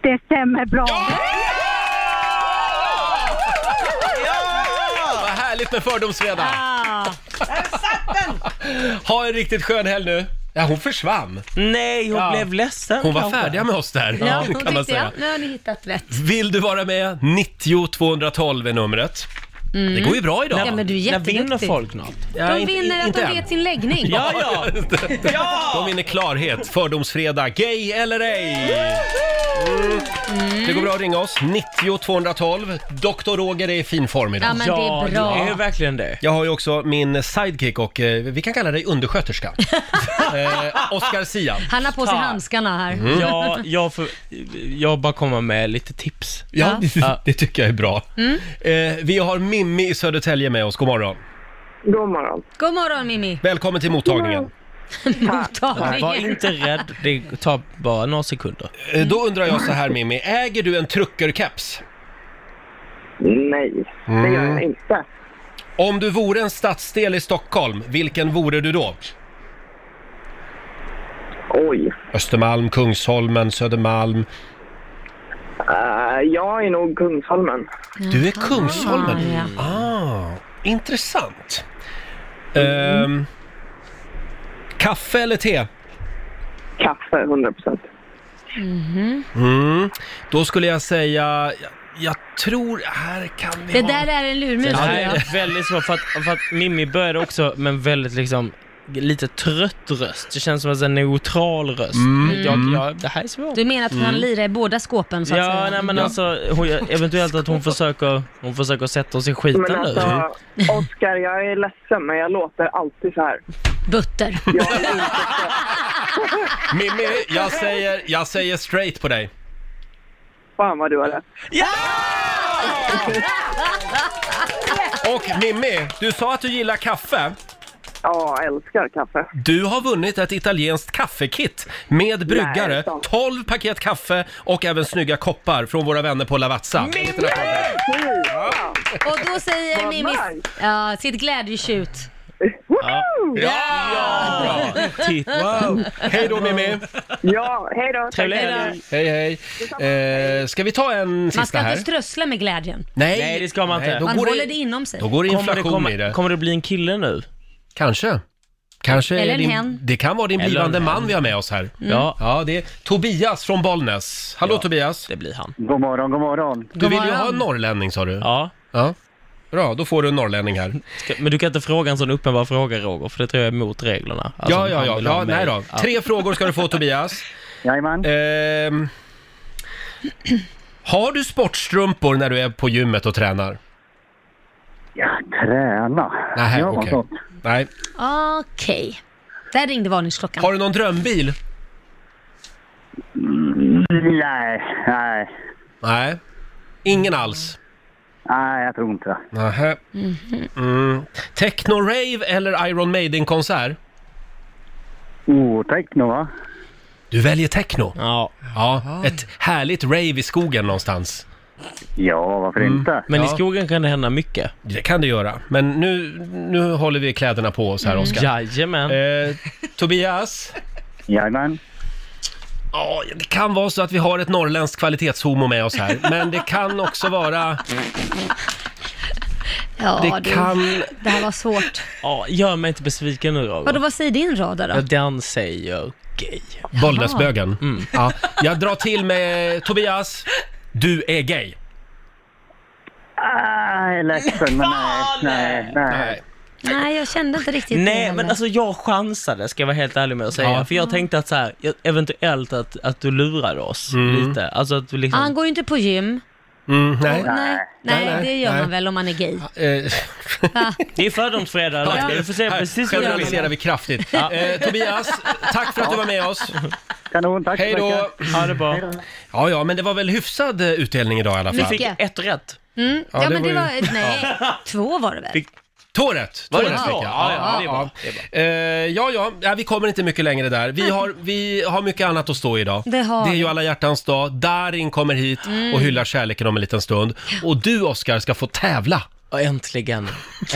Speaker 9: Det stämmer bra.
Speaker 1: Vad härligt med fördomsfredag!
Speaker 2: Ah,
Speaker 1: Ha en riktigt skön helg nu. Ja, hon försvann.
Speaker 10: Nej, hon
Speaker 1: Ja.
Speaker 10: blev ledsen
Speaker 1: Hon var
Speaker 10: kanske.
Speaker 1: färdiga med oss där,
Speaker 2: ja, hon
Speaker 1: kan man
Speaker 2: tyckte
Speaker 1: säga.
Speaker 2: jag. Nu har ni hittat rätt.
Speaker 1: Vill du vara med? 90 212 är numret. Det går ju bra idag.
Speaker 2: Mm. Ja, men du är
Speaker 10: När vinner
Speaker 2: jätteduktig.
Speaker 10: folk något?
Speaker 1: Ja,
Speaker 2: De
Speaker 1: inte-
Speaker 2: vinner att
Speaker 1: inte
Speaker 2: de
Speaker 1: än.
Speaker 2: vet sin läggning.
Speaker 10: Ja, ja!
Speaker 1: De vinner klarhet. Fördomsfredag, gay eller ej. Mm. Det går bra att ringa oss, 90 212. Dr. Roger är i fin form idag.
Speaker 2: Ja, men det är bra.
Speaker 10: det är verkligen det.
Speaker 1: Jag har ju också min sidekick och eh, vi kan kalla dig undersköterska. eh, Oscar Sia. Mm.
Speaker 2: Han har på sig handskarna här.
Speaker 10: Ja, jag, får, jag bara kommer med lite tips.
Speaker 1: Ja, det tycker jag är bra.
Speaker 2: Mm.
Speaker 1: Eh, vi har Mimmi i Södertälje med oss, god morgon.
Speaker 11: God morgon.
Speaker 2: God morgon Mimmi.
Speaker 1: Välkommen till mottagningen.
Speaker 10: Var
Speaker 2: Mottagningen.
Speaker 10: inte rädd, det tar bara några sekunder.
Speaker 1: Eh, då undrar jag så här Mimmi, äger du en truckerkeps?
Speaker 11: Nej, det gör
Speaker 12: Mm.
Speaker 11: jag inte.
Speaker 1: Om du vore en stadsdel i Stockholm, vilken vore du då?
Speaker 11: Oj.
Speaker 1: Östermalm, Kungsholmen, Södermalm.
Speaker 11: Eh, jag är nog Kungsholmen.
Speaker 1: Du är Kungsholmen?
Speaker 2: Ah,
Speaker 1: Ah, intressant. Ehm, kaffe eller te?
Speaker 11: Kaffe, 100 procent.
Speaker 2: Mm-hmm.
Speaker 1: Mm. Då skulle jag säga, Jag tror, här kan vi
Speaker 2: Det
Speaker 1: ha-
Speaker 2: där är en lurmus.
Speaker 10: Det
Speaker 2: tror
Speaker 10: här
Speaker 2: jag.
Speaker 10: är väldigt svårt för att, för att Mimmi började också med en väldigt liksom lite trött röst. Det känns som en sån här neutral röst.
Speaker 2: Mm.
Speaker 10: Jag, jag, det här är svårt.
Speaker 2: Du menar att han
Speaker 10: Mm.
Speaker 2: lirar i båda skåpen så att
Speaker 10: Ja,
Speaker 2: säga?
Speaker 10: nej men alltså hon, eventuellt att hon försöker, hon försöker sätta oss i skiten
Speaker 13: Men
Speaker 10: nu.
Speaker 13: alltså, Oskar, jag är ledsen men jag låter alltid så här.
Speaker 2: Butter.
Speaker 1: Mimmi, jag säger, jag säger straight på dig.
Speaker 13: Fan vad du har rätt.
Speaker 1: Och Mimmi, du sa att du gillar kaffe.
Speaker 13: Ja, jag älskar kaffe.
Speaker 1: Du har vunnit ett italienskt kaffekit med bryggare, 12 paket kaffe och även snygga koppar från våra vänner på Lavazza.
Speaker 2: Och då säger
Speaker 5: Vad
Speaker 2: Mimmi ja, sitt glädjetjut.
Speaker 1: Ja! Wow. Hej då Mimmi!
Speaker 13: Ja, hej då.
Speaker 1: Trevlig helg! Hej hej! Eh, ska vi ta en
Speaker 2: Man
Speaker 1: sista
Speaker 2: ska
Speaker 1: här?
Speaker 2: inte strössla med glädjen.
Speaker 1: Nej,
Speaker 10: Nej, det ska man inte.
Speaker 1: då
Speaker 2: Man
Speaker 1: går
Speaker 2: håller
Speaker 1: det,
Speaker 2: det inom sig.
Speaker 1: då går det
Speaker 10: Kommer
Speaker 1: inflation
Speaker 10: det komma-
Speaker 1: i det.
Speaker 10: Kommer det bli en kille nu?
Speaker 1: Kanske. Kanske
Speaker 2: Eller
Speaker 1: är
Speaker 2: en
Speaker 1: din,
Speaker 2: hen.
Speaker 1: Det kan vara din
Speaker 10: Eller en
Speaker 1: blivande
Speaker 10: hen.
Speaker 1: man vi har med oss här.
Speaker 10: Mm. Ja.
Speaker 1: ja, det är Tobias från Bollnäs. Hallå Tobias!
Speaker 10: Det blir han.
Speaker 12: God morgon, god morgon.
Speaker 1: Du vill ju ha en norrlänning sa du?
Speaker 10: Ja.
Speaker 1: ja. Bra, då får du en norrlänning här.
Speaker 10: Ska- Men du kan inte fråga en sån uppenbar fråga Roger, för det tror jag är mot reglerna. Alltså,
Speaker 1: ja, ja,
Speaker 10: han
Speaker 1: ja.
Speaker 10: vill ha
Speaker 1: ja
Speaker 10: mig.
Speaker 1: nej då.
Speaker 10: Ja.
Speaker 1: Tre frågor ska du få Tobias.
Speaker 12: Jajamän.
Speaker 1: Ehm, har du sportstrumpor när du är på gymmet och tränar?
Speaker 12: Träna.
Speaker 1: Nej,
Speaker 12: Ja,
Speaker 1: okej.
Speaker 12: vad
Speaker 1: Nej.
Speaker 2: Okej. Där ringde varningsklockan.
Speaker 1: Har du någon drömbil?
Speaker 12: Nej, nej.
Speaker 1: Nej. Ingen alls?
Speaker 12: Nej, jag tror inte
Speaker 1: Nähä.
Speaker 10: Mhm.
Speaker 1: Mm. Techno-rave eller Iron Maiden-konsert?
Speaker 12: Oh, techno va?
Speaker 1: Du väljer techno?
Speaker 10: Ja.
Speaker 1: Ja, ett härligt rave i skogen någonstans. Mm.
Speaker 12: Ja, varför inte?
Speaker 10: Men i skogen kan det hända mycket.
Speaker 1: Det kan det göra, men nu, nu håller vi kläderna på oss här,
Speaker 10: Mm.
Speaker 1: Oskar.
Speaker 10: Jajamän.
Speaker 1: Eh, Tobias?
Speaker 12: Jajamän.
Speaker 1: Ja, det kan vara så att vi har ett norrländskt kvalitetshomo med oss här, men det kan också vara...
Speaker 2: Ja,
Speaker 10: Det
Speaker 2: du.
Speaker 10: kan-
Speaker 2: Det här var svårt.
Speaker 10: Ja, gör mig inte besviken nu Roger.
Speaker 2: Vadå, vad säger din rad där
Speaker 10: Ja,
Speaker 2: då?
Speaker 10: den säger gay. Mm.
Speaker 1: Bollnäsbögen. Ja, jag drar till med Tobias, du är gay.
Speaker 12: Nej, Ah, ledsen men nej, nej, nej.
Speaker 2: Nej, jag kände inte riktigt det
Speaker 10: Nej,
Speaker 2: heller.
Speaker 10: men alltså jag chansade, ska jag vara helt ärlig med att säga.
Speaker 2: Ja.
Speaker 10: För jag tänkte att så här, eventuellt att, att du lurade oss lite. Alltså att du
Speaker 2: Ja,
Speaker 10: liksom...
Speaker 2: Han går ju inte på gym.
Speaker 1: Mm,
Speaker 2: Och, Ah. nej, nej,
Speaker 10: Nej, nej,
Speaker 2: det gör
Speaker 10: nej.
Speaker 2: man väl om man är gay.
Speaker 10: Det är fördomsfredag,
Speaker 1: Eh. Ja.
Speaker 10: Laila. Du får säga
Speaker 1: Här
Speaker 10: precis vad du
Speaker 1: generaliserar vi kraftigt. Eh, Tobias, tack för att du var med oss.
Speaker 12: Kanon, tack så
Speaker 1: Hej då!
Speaker 12: mycket.
Speaker 10: Ha det bra.
Speaker 1: Ja, ja, men det var väl hyfsad eh, utdelning idag i alla fall.
Speaker 2: Mycket. Fick
Speaker 10: ett rätt.
Speaker 2: Mm.
Speaker 1: Ja,
Speaker 2: Ja,
Speaker 1: det
Speaker 2: men det
Speaker 1: var
Speaker 2: var...
Speaker 1: ju-
Speaker 2: Nej, två var det väl?
Speaker 1: Fick- Två rätt! Två
Speaker 2: Var
Speaker 1: rätt
Speaker 2: det
Speaker 1: fick
Speaker 2: så?
Speaker 1: jag.
Speaker 2: Ja, ja, det är bra.
Speaker 1: ja. Eh, ja, ja, ja, vi kommer inte mycket längre där. Vi har, vi har mycket annat att stå i idag.
Speaker 2: Det har
Speaker 1: är
Speaker 2: vi.
Speaker 1: ju alla hjärtans dag. Darin kommer hit
Speaker 2: Mm.
Speaker 1: och hyllar kärleken om en liten stund. Och du, Oskar, ska få tävla.
Speaker 10: Ja, äntligen.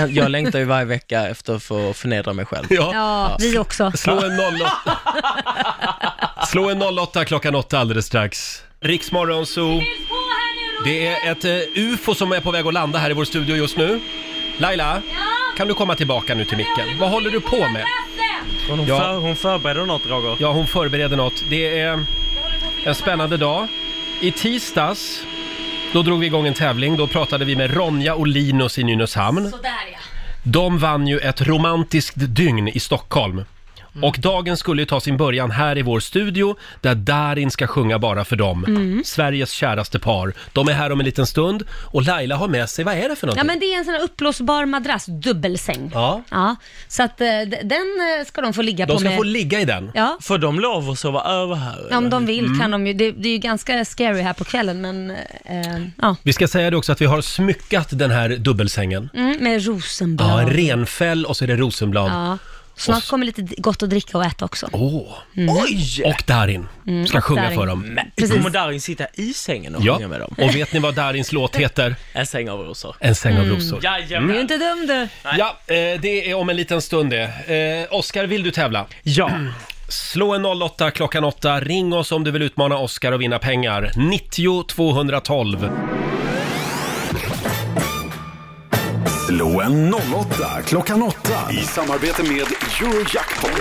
Speaker 10: Jag längtar ju varje vecka efter att få förnedra mig själv.
Speaker 1: Ja.
Speaker 2: Ja, vi också.
Speaker 1: Slå en 08. Slå en 08 klockan 8 alldeles strax. Riksmorgon Zoo. Det är ett eh, UFO som är på väg att landa här i vår studio just nu. Laila, kan du komma tillbaka nu till micken? Vad håller du på med?
Speaker 10: Hon,
Speaker 1: Ja.
Speaker 10: för, hon förbereder något, Roger.
Speaker 1: Ja, hon förbereder något. Det är en spännande dag. I tisdags, då drog vi igång en tävling. Då pratade vi med Ronja och Linus i Nynäshamn.
Speaker 2: Sådär ja.
Speaker 1: De vann ju ett romantiskt dygn i Stockholm.
Speaker 2: Mm.
Speaker 1: Och dagen skulle ju ta sin början här i vår studio, där Darin ska sjunga bara för dem.
Speaker 2: Mm.
Speaker 1: Sveriges käraste par. De är här om en liten stund och Laila har med sig, vad är det för någonting?
Speaker 2: Ja, men det är en sån här uppblåsbar madrass, dubbelsäng.
Speaker 1: Ja.
Speaker 2: Ja, så att eh, d- den eh, ska de få ligga
Speaker 10: De
Speaker 2: på
Speaker 10: ska
Speaker 2: med.
Speaker 10: få
Speaker 1: ligga i den?
Speaker 2: Ja.
Speaker 10: Får de lov att sova över här? Mm.
Speaker 2: Ja, Om
Speaker 10: eller?
Speaker 2: de vill kan
Speaker 1: Mm.
Speaker 2: de ju, det, det är ju ganska scary här på kvällen men, eh, ja.
Speaker 1: Vi ska säga det också att vi har smyckat den här dubbelsängen.
Speaker 2: Mm, med rosenblad.
Speaker 1: Ja, renfäll och så är det rosenblad.
Speaker 2: Ja. Snart kommer lite gott att dricka och äta också.
Speaker 1: Åh! Oj! Och Darin
Speaker 2: Mm,
Speaker 1: ska
Speaker 2: och
Speaker 1: sjunga
Speaker 2: Darin.
Speaker 1: för dem.
Speaker 10: Men, kommer Darin sitta i sängen och
Speaker 1: Ja,
Speaker 10: sjunga med dem?
Speaker 1: och vet ni vad Darins låt heter?
Speaker 10: En säng av rosor.
Speaker 1: En säng av rosor.
Speaker 10: Jajamän.
Speaker 2: Mm. Du är inte dum du.
Speaker 1: Ja, eh, det är om en liten stund det. Eh, Oskar, vill du tävla?
Speaker 10: Ja.
Speaker 1: Slå en 08 klockan 8. Ring oss om du vill utmana Oskar och vinna pengar. 90 212.
Speaker 4: Slå en 08 klockan 8 i samarbete med Eurojackpot.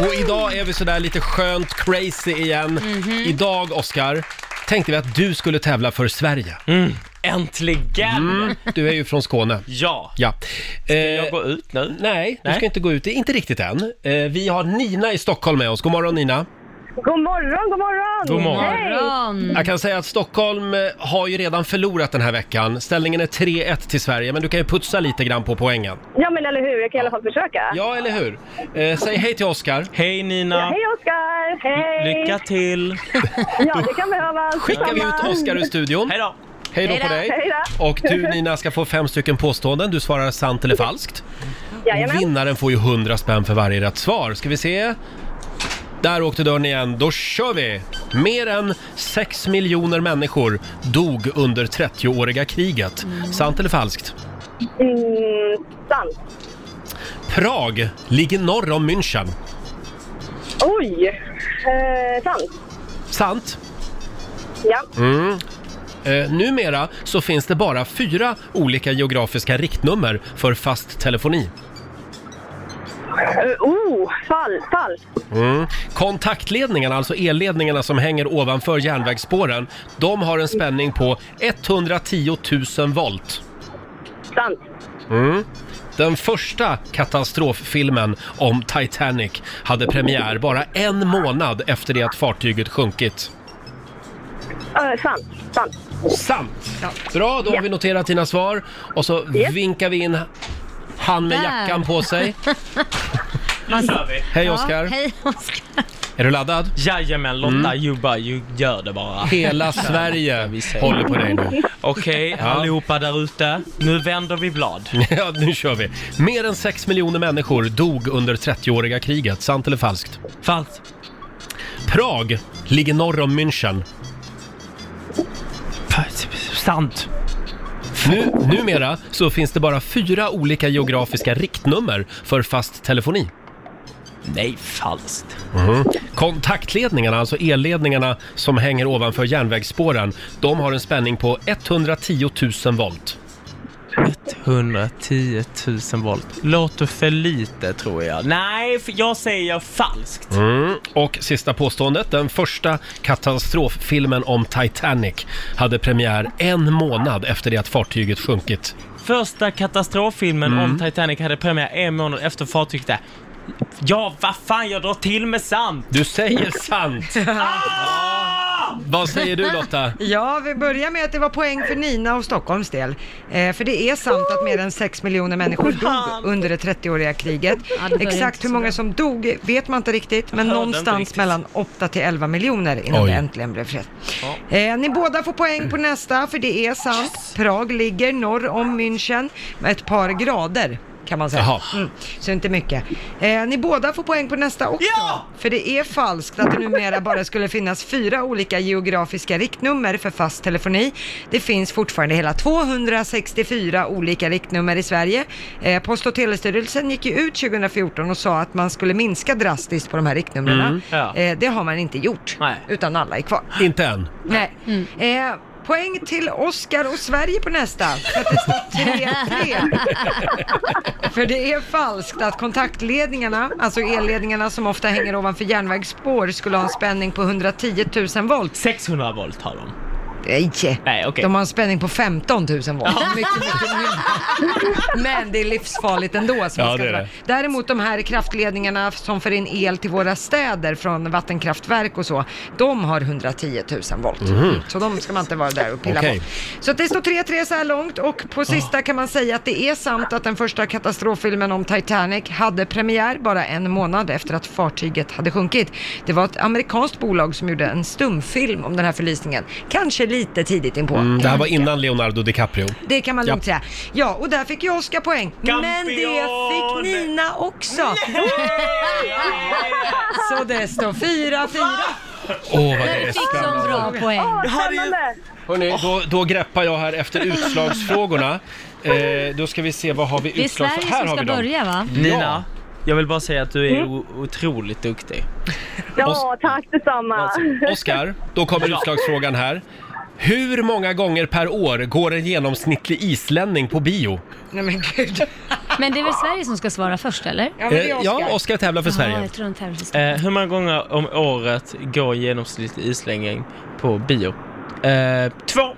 Speaker 1: Och idag är vi sådär lite skönt crazy igen. Idag, Oskar, tänkte vi att du skulle tävla för Sverige.
Speaker 10: Mm. Äntligen!
Speaker 1: Mm, du är ju från Skåne.
Speaker 10: Ja.
Speaker 1: ja. Ska
Speaker 10: jag gå ut nu?
Speaker 1: Nej, du
Speaker 10: Nej.
Speaker 1: ska inte gå ut. Det är inte riktigt än. Eh, Vi har Nina i Stockholm med oss. God morgon Nina!
Speaker 9: God morgon, god morgon!
Speaker 1: God morgon.
Speaker 9: Hej!
Speaker 1: Jag kan säga att Stockholm eh, har ju redan förlorat den här veckan. Ställningen är 3-1 till Sverige, men du kan ju putsa lite grann på poängen.
Speaker 9: Ja men eller hur, jag kan i alla fall försöka.
Speaker 1: Ja, eller hur? Eh, Säg hej till Oskar.
Speaker 10: Hej Nina!
Speaker 9: Ja, hej Oskar! Hej!
Speaker 10: Lycka till!
Speaker 9: Ja, det kan behövas.
Speaker 1: skickar vi ut Oskar ur studion. Hej
Speaker 10: då!
Speaker 1: Hej då
Speaker 9: Hej
Speaker 1: på
Speaker 9: då.
Speaker 1: dig!
Speaker 9: Hej då.
Speaker 1: Och du Nina ska få fem stycken påståenden. Du svarar sant eller falskt.
Speaker 9: Jajamän.
Speaker 1: Och vinnaren får ju 100 spänn för varje rätt svar. Ska vi se? Där åkte dörren igen. Då kör vi! Mer än 6 miljoner människor dog under 30-åriga kriget. Sant eller falskt?
Speaker 9: Mm, sant.
Speaker 1: Prag ligger norr om München.
Speaker 9: Oj! Eh, sant.
Speaker 1: Sant?
Speaker 9: Ja.
Speaker 1: Mm. Eh, numera så finns det bara fyra olika geografiska riktnummer för fast telefoni.
Speaker 9: Eh, oh, fall, fall.
Speaker 1: Mm. Kontaktledningarna, alltså elledningarna som hänger ovanför järnvägsspåren, de har en spänning på 110 000 volt.
Speaker 9: Sant.
Speaker 1: Mm. Den första katastroffilmen om Titanic hade premiär bara en månad efter det att fartyget sjunkit.
Speaker 9: Eh, sant, sant.
Speaker 1: Sant! Bra, då har vi noterat dina svar och så vinkar vi in han med
Speaker 2: Där.
Speaker 1: jackan på sig.
Speaker 10: Nu kör vi!
Speaker 1: Hej, Oscar.
Speaker 2: Hej Oskar!
Speaker 1: Är du laddad? Mm.
Speaker 10: Jajamän Lotta, you, bara, you gör det bara.
Speaker 1: Hela Sverige
Speaker 10: Vi säger.
Speaker 1: håller på dig nu.
Speaker 10: Okej, allihopa där ute. Nu vänder vi blad.
Speaker 1: Ja, nu kör vi. Mer än 6 miljoner människor dog under 30-åriga kriget. Sant eller falskt?
Speaker 10: Falskt.
Speaker 1: Prag ligger norr om München.
Speaker 10: Sant.
Speaker 1: Nu, numera så finns det bara fyra olika geografiska riktnummer för fast telefoni.
Speaker 10: Nej, falskt.
Speaker 1: Mhm. Kontaktledningarna, alltså elledningarna som hänger ovanför järnvägsspåren, de har en spänning på 110 000 volt.
Speaker 10: 110 000 volt. Låter för lite tror jag. Nej, f- jag säger falskt.
Speaker 1: Mm. Och sista påståendet. Den första katastroffilmen om Titanic hade premiär en månad efter det att fartyget sjunkit.
Speaker 10: Första katastroffilmen
Speaker 1: Mm.
Speaker 10: om Titanic hade premiär en månad efter fartyget där. Ja, vad fan, jag drar till med sant! Ah!
Speaker 1: Du säger sant! Vad säger du Lotta?
Speaker 3: Ja, vi börjar med att det var poäng för Nina och Stockholms del. Eh, för det är sant att mer än 6 miljoner människor dog under det 30-åriga kriget.
Speaker 2: börjar inte
Speaker 3: Exakt
Speaker 2: så
Speaker 3: hur många som dog vet man inte riktigt, men
Speaker 2: Jag hörde
Speaker 3: någonstans
Speaker 2: inte riktigt.
Speaker 3: mellan 8 till 11 miljoner innan
Speaker 2: Oj.
Speaker 3: det äntligen blev fred. Eh, ni båda får poäng på nästa, för det är sant. Prag ligger norr om München med ett par grader. Kan man säga.
Speaker 5: Jaha.
Speaker 3: Mm, så inte mycket. Eh, ni båda får poäng på nästa också. För det är falskt att det numera bara skulle finnas fyra olika geografiska riktnummer för fast telefoni. Det finns fortfarande hela 264 olika riktnummer i Sverige. Eh, Post och telestyrelsen gick ju ut 2014 och sa att man skulle minska drastiskt på de här riktnumren.
Speaker 1: Mm. Ja.
Speaker 3: Eh, det har man inte gjort, utan alla är kvar.
Speaker 1: Inte än.
Speaker 3: Nej. Eh, poäng till Oscar och Sverige på nästa. För att det står 3-3. För det är falskt att kontaktledningarna, alltså elledningarna som ofta hänger ovanför järnvägsspår, skulle ha en spänning på 110 000 volt.
Speaker 10: 600 volt har de.
Speaker 3: Nej,
Speaker 10: Nej, okej.
Speaker 3: de har en spänning på 15 000 volt. Mycket, mycket mindre. Men det är livsfarligt ändå. Som man
Speaker 5: Ja,
Speaker 3: ska
Speaker 5: det är
Speaker 3: dra.
Speaker 5: det.
Speaker 3: Däremot de här kraftledningarna som för in el till våra städer från vattenkraftverk och så, de har 110 000 volt.
Speaker 5: Mhm.
Speaker 3: Så de ska man inte vara där och pilla
Speaker 5: Okej.
Speaker 3: på. Så att det står 3-3 så här långt och
Speaker 1: Ah.
Speaker 3: på sista kan man säga att det är sant att den första katastroffilmen om Titanic hade premiär bara en månad efter att fartyget hade sjunkit. Det var ett amerikanskt bolag som gjorde en stumfilm om den här förlisningen. Kanske lite tidigt inpå.
Speaker 1: Mm, det här var innan Leonardo DiCaprio.
Speaker 3: Det kan man
Speaker 1: Ja.
Speaker 3: lugnt säga. Ja, och där fick ju Oskar poäng. Men det fick Nina också. Så det står 4-4.
Speaker 1: Åh, vad det är
Speaker 5: sån
Speaker 1: spännande.
Speaker 5: poäng.
Speaker 1: Hörrni, då, då greppar jag här efter utslagsfrågorna. Eh, då ska vi se, vad har vi
Speaker 2: Det är
Speaker 1: utslags...
Speaker 2: Sverige
Speaker 1: här
Speaker 2: som
Speaker 1: har
Speaker 2: ska
Speaker 1: vi dem.
Speaker 2: börja, va?
Speaker 10: Nina, jag vill bara säga att du är
Speaker 2: Mm.
Speaker 10: o- otroligt duktig.
Speaker 9: Ja, tack detsamma.
Speaker 1: Oskar, då kommer utslagsfrågan här. Hur många gånger per år går en genomsnittlig islänning på bio?
Speaker 3: Nej men gud.
Speaker 2: Men det är väl Sverige som ska svara först eller?
Speaker 1: Eh, ja, Oskar tävlar för Sverige.
Speaker 2: Ja, jag tror de tävlar för Sverige.
Speaker 10: Eh, hur många gånger om året går genomsnittlig islänning på bio?
Speaker 1: Eh, två.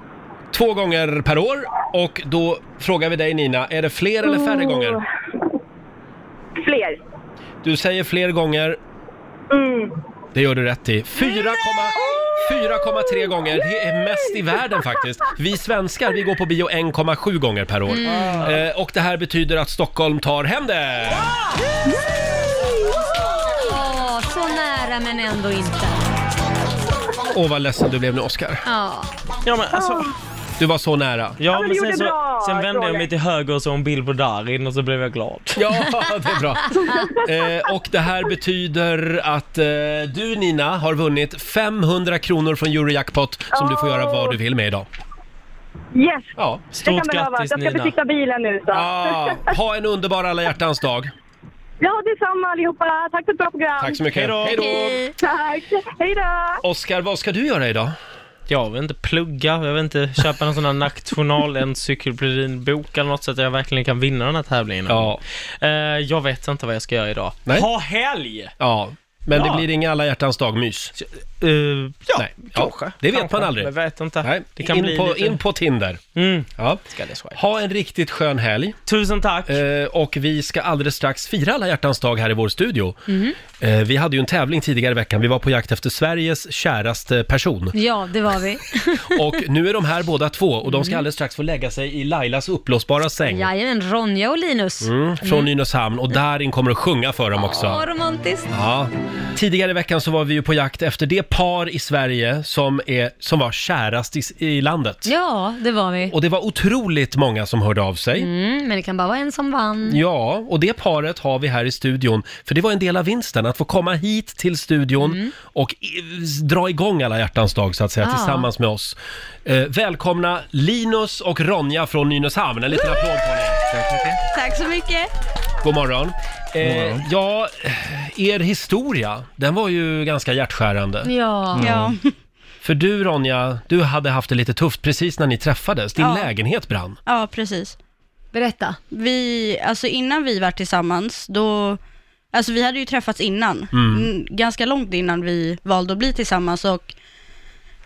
Speaker 1: Två gånger per år. Och då frågar vi dig Nina, är det fler eller färre
Speaker 9: Oh.
Speaker 5: Mm.
Speaker 1: gånger?
Speaker 5: Fler.
Speaker 1: Du säger fler gånger.
Speaker 9: Mm.
Speaker 1: Det gör du rätt i. 4,3 gånger. Det är mest i världen faktiskt. Vi svenskar, vi går på bio 1,7 gånger per år.
Speaker 5: Mm.
Speaker 1: Eh, och det här betyder att Stockholm tar hem det!
Speaker 2: Åh, så nära men ändå inte.
Speaker 1: Åh, vad ledsen du blev nu, Oscar.
Speaker 2: Ja.
Speaker 10: Ja, men alltså...
Speaker 1: Du var så nära.
Speaker 10: Ja,
Speaker 1: men
Speaker 10: men
Speaker 1: du
Speaker 10: sen,
Speaker 1: gjorde
Speaker 10: så,
Speaker 1: bra,
Speaker 10: sen vände jag
Speaker 1: Roger.
Speaker 10: mig till höger och såg en bild på Darin och så blev jag glad.
Speaker 1: Ja, det är bra. Eh, och det här betyder att eh, du Nina har vunnit 500 kronor från Eurojackpot som du får göra vad du vill med idag.
Speaker 9: Yes!
Speaker 1: Ja,
Speaker 9: det kan behövas. Jag ska besikta bilen nu så.
Speaker 1: Ja, Ah, ha en underbar alla hjärtans dag.
Speaker 9: ja, detsamma allihopa. Tack för ett bra program.
Speaker 1: Tack så mycket. Hej då. Hej då.
Speaker 9: Tack. Hej då.
Speaker 1: Oskar, vad ska du göra idag?
Speaker 10: Jag vill inte plugga, jag vill inte köpa någon sån här nationalencyklopedinbok eller något så att jag verkligen kan vinna den här tävlingen. Eh,
Speaker 1: Ja.
Speaker 10: jag vet inte vad jag ska göra idag.
Speaker 1: Nej.
Speaker 10: Ha helg!
Speaker 1: Ja, men
Speaker 10: Ja. Eh,
Speaker 1: det blir inga alla hjärtans dag-mys.
Speaker 10: ja,
Speaker 1: Nej.
Speaker 10: kanske.
Speaker 1: Det vet
Speaker 10: Kanske,
Speaker 1: man aldrig.
Speaker 10: men vet inte.
Speaker 1: Nej.
Speaker 10: Det kan
Speaker 1: in,
Speaker 10: bli
Speaker 1: på,
Speaker 10: lite- Mm.
Speaker 1: in på Tinder. Ja. ha en riktigt skön helg. Eh,
Speaker 10: Tusen tack.
Speaker 1: och vi ska alldeles strax fira alla hjärtans dag här i vår studio.
Speaker 2: Mhm.
Speaker 1: Eh, vi hade ju en tävling tidigare i veckan. Vi var på jakt efter Sveriges käraste person.
Speaker 2: Ja, det var vi.
Speaker 1: Och nu är de här båda två och de ska
Speaker 2: Mm.
Speaker 1: alldeles strax få lägga sig i Lailas uppblåsbara säng.
Speaker 2: Jajamän, Ronja och Linus. Mm.
Speaker 1: Mm, från Nynäshamn och Darin kommer att sjunga för dem också.
Speaker 2: Åh, romantiskt.
Speaker 1: Ja. Tidigare i veckan så var vi ju på jakt efter det par i Sverige som, är, som var kärast i, i landet.
Speaker 2: Ja, det var vi.
Speaker 1: Och det var otroligt många som hörde av sig.
Speaker 2: Mm, men det kan bara vara en som vann.
Speaker 1: Ja, och det paret har vi här i studion, för det var en del av vinsten, att få komma hit till studion och i, dra igång alla hjärtans dag så att säga,
Speaker 2: Mm. Ja.
Speaker 1: tillsammans med oss. Eh, välkomna Linus och Ronja från Nynäshamn, en liten applåd på er.
Speaker 2: Tack så mycket.
Speaker 1: God morgon.
Speaker 2: God
Speaker 1: Eh,
Speaker 2: morgon.
Speaker 1: ja, er historia, den var ju ganska hjärtskärande.
Speaker 2: Ja. Ja.
Speaker 1: För du Ronja, du hade haft det lite tufft precis när ni träffades. Din
Speaker 14: Ja.
Speaker 1: lägenhet brann.
Speaker 14: Ja, precis.
Speaker 2: Berätta.
Speaker 14: Vi, alltså innan vi var tillsammans, då, alltså vi hade ju träffats innan,
Speaker 1: Mm.
Speaker 14: Mm, ganska långt innan vi valde att bli tillsammans och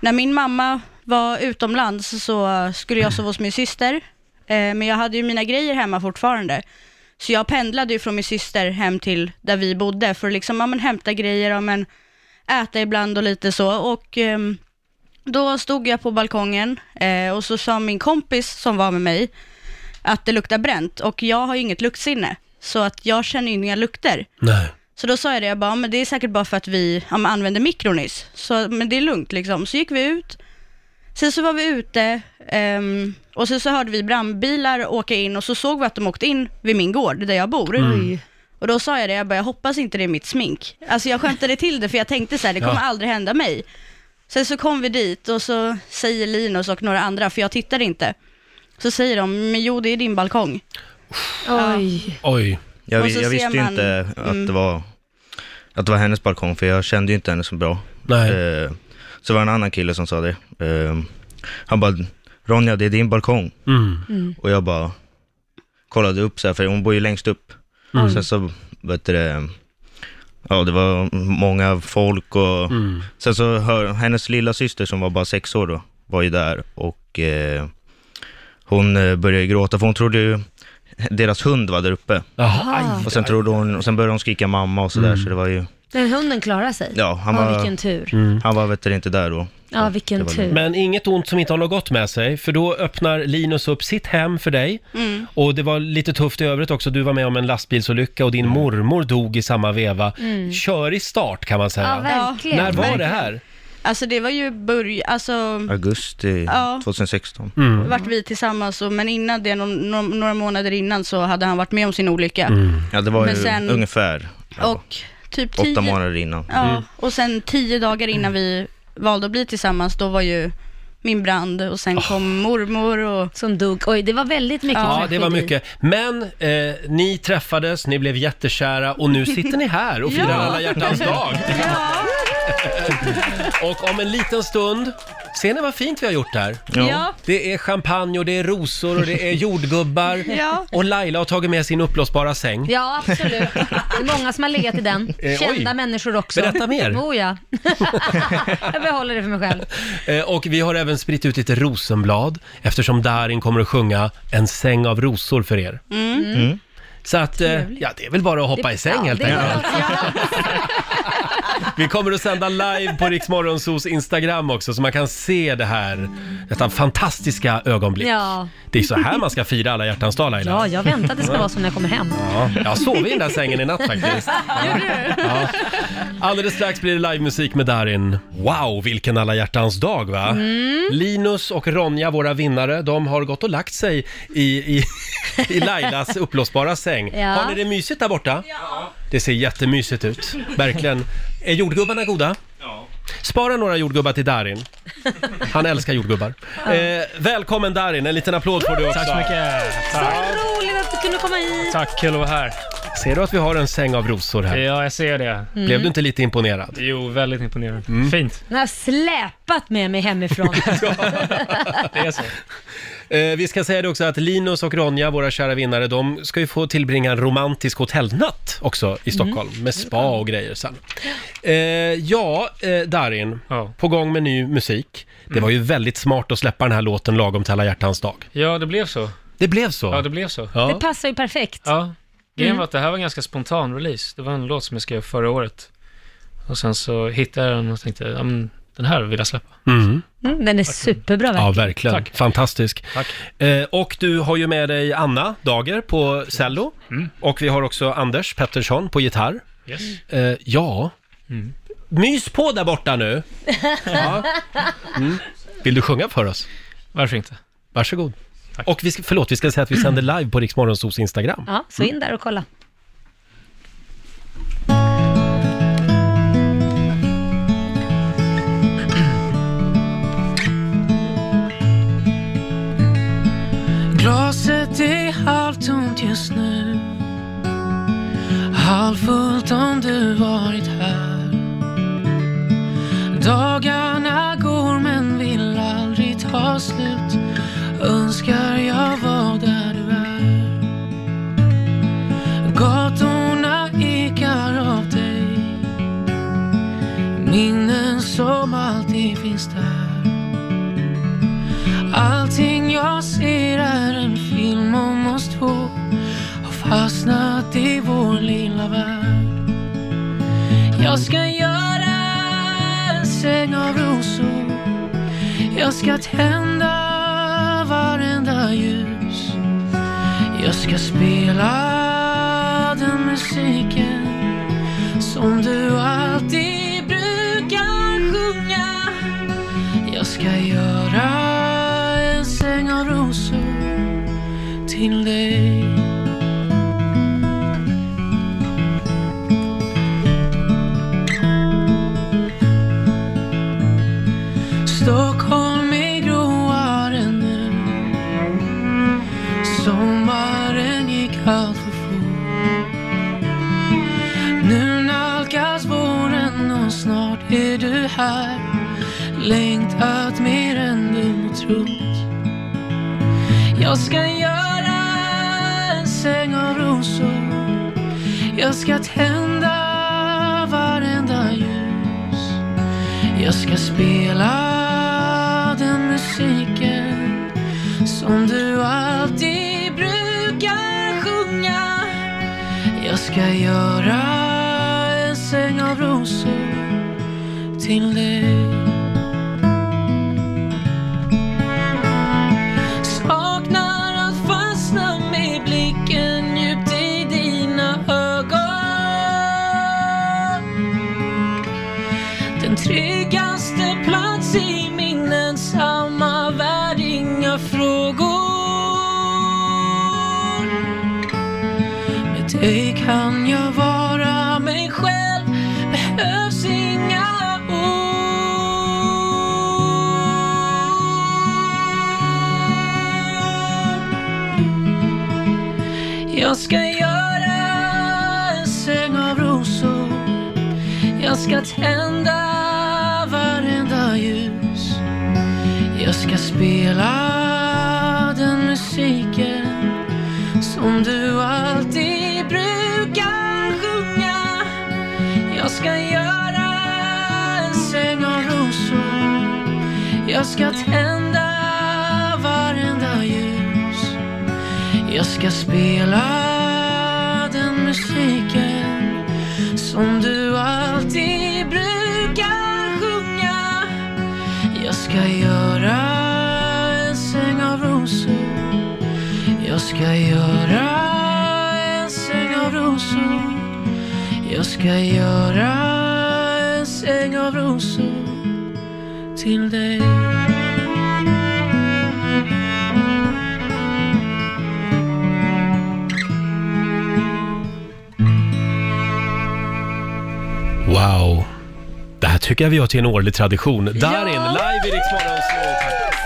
Speaker 14: när min mamma var utomlands så skulle jag sova hos min syster, eh, men jag hade ju mina grejer hemma fortfarande. Så jag pendlade ju från min syster hem till där vi bodde för att liksom, ja, men, hämta grejer, ja, men, äta ibland och lite så. Och ehm, då stod jag på balkongen eh, och så sa min kompis som var med mig att det luktar bränt och jag har ju inget luktsinne så att jag känner ju inga lukter.
Speaker 1: Nej.
Speaker 14: Så då sa jag det, jag bara, "Ja, men det är säkert bara för att vi ja, men använde mikron nyss, så, men det är lugnt liksom. Så gick vi ut, sen så var vi ute ehm, och sen så hörde vi brandbilar åka in och så såg vi att de åkte in vid min gård där jag bor.
Speaker 5: Mm.
Speaker 14: Och då sa jag det, jag bara, jag hoppas inte det är mitt smink. Alltså jag skämtade till det för jag tänkte så här, det kommer
Speaker 5: Ja.
Speaker 14: aldrig hända mig. Sen så kom vi dit och så säger Linus och några andra, för jag tittar inte. Så säger de, men jo det är din balkong.
Speaker 2: Oj.
Speaker 1: Oj.
Speaker 15: Jag,
Speaker 14: Och
Speaker 15: vi-
Speaker 14: så
Speaker 15: jag
Speaker 14: ser
Speaker 15: visste ju
Speaker 14: man-
Speaker 15: inte att,
Speaker 14: mm.
Speaker 15: det var, att det var hennes balkong, för jag kände ju inte henne så bra. Eh, så var det en annan kille som sa det. Eh, han bara, Ronja det är din balkong.
Speaker 5: Mm.
Speaker 15: Och jag bara kollade upp så här, för hon bor ju längst upp.
Speaker 5: Mm.
Speaker 15: Sen så, vet du det, ja det var många folk och
Speaker 5: Mm.
Speaker 15: sen så hör, hennes lilla syster som var bara sex år då, var ju där och eh, hon eh, började gråta för hon trodde ju deras hund var där uppe.
Speaker 2: Jaha. Aj.
Speaker 15: Och sen trodde hon, och sen började hon skrika mamma och sådär
Speaker 2: Mm.
Speaker 15: så det var ju,
Speaker 2: Men hunden klarar sig.
Speaker 15: ja han
Speaker 2: Ja,
Speaker 15: var,
Speaker 2: vilken tur.
Speaker 15: han var vet du, inte där då.
Speaker 2: Ja, vilken
Speaker 15: det var
Speaker 2: tur.
Speaker 1: Men inget ont som inte har något gott med sig, för då öppnar Linus upp sitt hem för dig.
Speaker 14: Mm.
Speaker 1: Och det var lite tufft i övrigt också, du var med om en lastbilsolycka och din mormor dog i samma veva.
Speaker 14: Mm.
Speaker 1: Kör i start kan man säga.
Speaker 14: Ja, verkligen.
Speaker 1: När var det
Speaker 14: Verkligen.
Speaker 1: här?
Speaker 14: Alltså det var ju börj... alltså
Speaker 15: Mm. Augusti
Speaker 14: Ja.
Speaker 15: 2016.
Speaker 2: Mm.
Speaker 14: vart vi tillsammans, och, men innan det, någon, någon, några månader innan så hade han varit med om sin olycka.
Speaker 2: Mm.
Speaker 15: Ja det var
Speaker 14: Men
Speaker 15: ju
Speaker 14: sen-
Speaker 15: ungefär
Speaker 14: Och typ
Speaker 15: Mm. åtta
Speaker 14: tio...
Speaker 15: månader Mm. innan.
Speaker 14: Ja, och sen tio dagar innan vi valde att bli tillsammans, då var ju min brand och sen kom mormor och...
Speaker 2: Som dog. Oj, det var väldigt mycket
Speaker 1: Ja, det var mycket. Men eh, ni träffades, ni blev jättekära och nu sitter ni här och firar
Speaker 2: Ja.
Speaker 1: alla hjärtans dag. Och om en liten stund, ser ni vad fint vi har gjort där?
Speaker 5: Ja. Ja.
Speaker 1: Det är champagne och det är rosor och det är jordgubbar.
Speaker 2: Ja.
Speaker 1: Och Laila har tagit med sin uppblåsbara säng.
Speaker 2: Ja, absolut. Det är många som har legat i den.
Speaker 1: Eh,
Speaker 2: Kända
Speaker 1: oj.
Speaker 2: människor också.
Speaker 1: Berätta mer.
Speaker 2: Oh, ja. Jag behåller det för mig själv.
Speaker 1: Eh, Och vi har även spritt ut lite rosenblad eftersom Darin kommer att sjunga En säng av rosor för er.
Speaker 2: Mm.
Speaker 1: Så att, eh, ja det är väl bara att hoppa
Speaker 2: Det-
Speaker 1: i säng
Speaker 2: ja,
Speaker 1: helt
Speaker 2: det är
Speaker 1: enkelt. Vi kommer att sända live på Riksmorgonsos Instagram också så man kan se det här, detta fantastiska ögonblick.
Speaker 2: Ja.
Speaker 1: Det är så här man ska fira alla hjärtans dag Laila.
Speaker 2: ja, jag väntar att det ska vara så när jag kommer hem.
Speaker 1: Ja, jag sov i den där sängen i natt faktiskt. Ja. Alldeles strax blir det livemusik med Darin. Wow, vilken alla hjärtans dag va?
Speaker 5: Mm.
Speaker 1: Linus och Ronja, våra vinnare, de har gått och lagt sig i, i, i Lailas uppblåsbara säng.
Speaker 5: Ja.
Speaker 1: Har ni det mysigt där borta? Ja. Det ser jättemysigt ut, verkligen. Är jordgubbarna goda? Ja. Spara några jordgubbar till Darin. Han älskar jordgubbar.
Speaker 2: Ja.
Speaker 1: Eh, välkommen Darin, en liten applåd får du också.
Speaker 2: Tack så mycket.
Speaker 1: Tack.
Speaker 2: Roligt att du kunde komma hit.
Speaker 1: Tack, kul att vara här. Ser du att vi har en säng av rosor här? Ja, jag ser det.
Speaker 2: Mm.
Speaker 1: Blev du inte lite imponerad? Mm. Jo, väldigt imponerad. Fint.
Speaker 2: Nu har jag släpat med mig hemifrån.
Speaker 1: Det är så. Eh, vi ska säga det också att Linus och Ronja, våra kära vinnare, de ska ju få tillbringa en romantisk hotellnatt också i Stockholm med spa och grejer sen. Eh, ja, eh, Darin, på gång med ny musik. Det var ju väldigt smart att släppa den här låten lagom till alla hjärtans dag.
Speaker 16: Ja, det blev så.
Speaker 1: Det blev så.
Speaker 16: Ja, det blev så.
Speaker 1: Ja.
Speaker 2: Det passar ju perfekt.
Speaker 16: Ja. Grejen
Speaker 2: Mm.
Speaker 16: var att det här var en ganska spontan release. Det var en låt som jag skrev förra året. Och sen så hittade jag den och tänkte, ja, men den här vill jag släppa.
Speaker 1: Mm.
Speaker 2: Mm, den är superbra verkligen.
Speaker 1: Ja, verkligen.
Speaker 16: Tack.
Speaker 1: Fantastisk. Eh, och du har ju med dig Anna Dager på cello.
Speaker 16: Mm.
Speaker 1: Och vi har också Anders Pettersson på gitarr.
Speaker 16: Yes.
Speaker 1: Eh, ja,
Speaker 16: Mm.
Speaker 1: mys på där borta nu. Mm. Vill du sjunga för oss?
Speaker 16: Varför inte?
Speaker 1: Varsågod. Och vi ska, förlåt, vi ska säga att vi sänder live på Riksmorgonsos Instagram.
Speaker 2: Ja, så in där och kolla.
Speaker 17: Glaset är halvtomt just nu Halvfullt om du varit här Dagarna går men vill aldrig ta slut Önskar jag var där du är Gatorna ekar av dig Minnen som alltid finns där Allting jag ser är en film om oss två Har fastnat i vår lilla värld Jag ska göra en säng av rosor Jag ska tända varenda ljus Jag ska spela den musiken som du alltid brukar sjunga jag ska göra en säng av rosor till dig Stockholm är gråare nu Sommaren gick allt för fort Nu nalkas våren och snart är du här längtat mer än du trott. Jag ska göra en säng av rosor. Jag ska tända varenda ljus. Jag ska spela den musiken som du alltid brukar sjunga. Jag ska göra en säng av rosor till dig. Saknar att fastna med blicken djupt i dina ögon. Den tryggaste plats i minnen, samma värld, inga frågor. Med dig kan jag vara mig själv, behövs inga ord. Jag ska göra en säng av rosor. Jag ska tända ska spela den musiken som du alltid brukar sjunga. Jag ska göra en säng av rosor. Jag ska tända varenda ljus. Jag ska spela den musiken som du alltid brukar sjunga. Jag ska göra en säng av rosor. Jag ska göra en säng av rosor. Jag ska göra en säng av rosor till dig.
Speaker 1: Wow. Det här tycker jag vi gör till en årlig tradition. Darin, live i Rix Morgon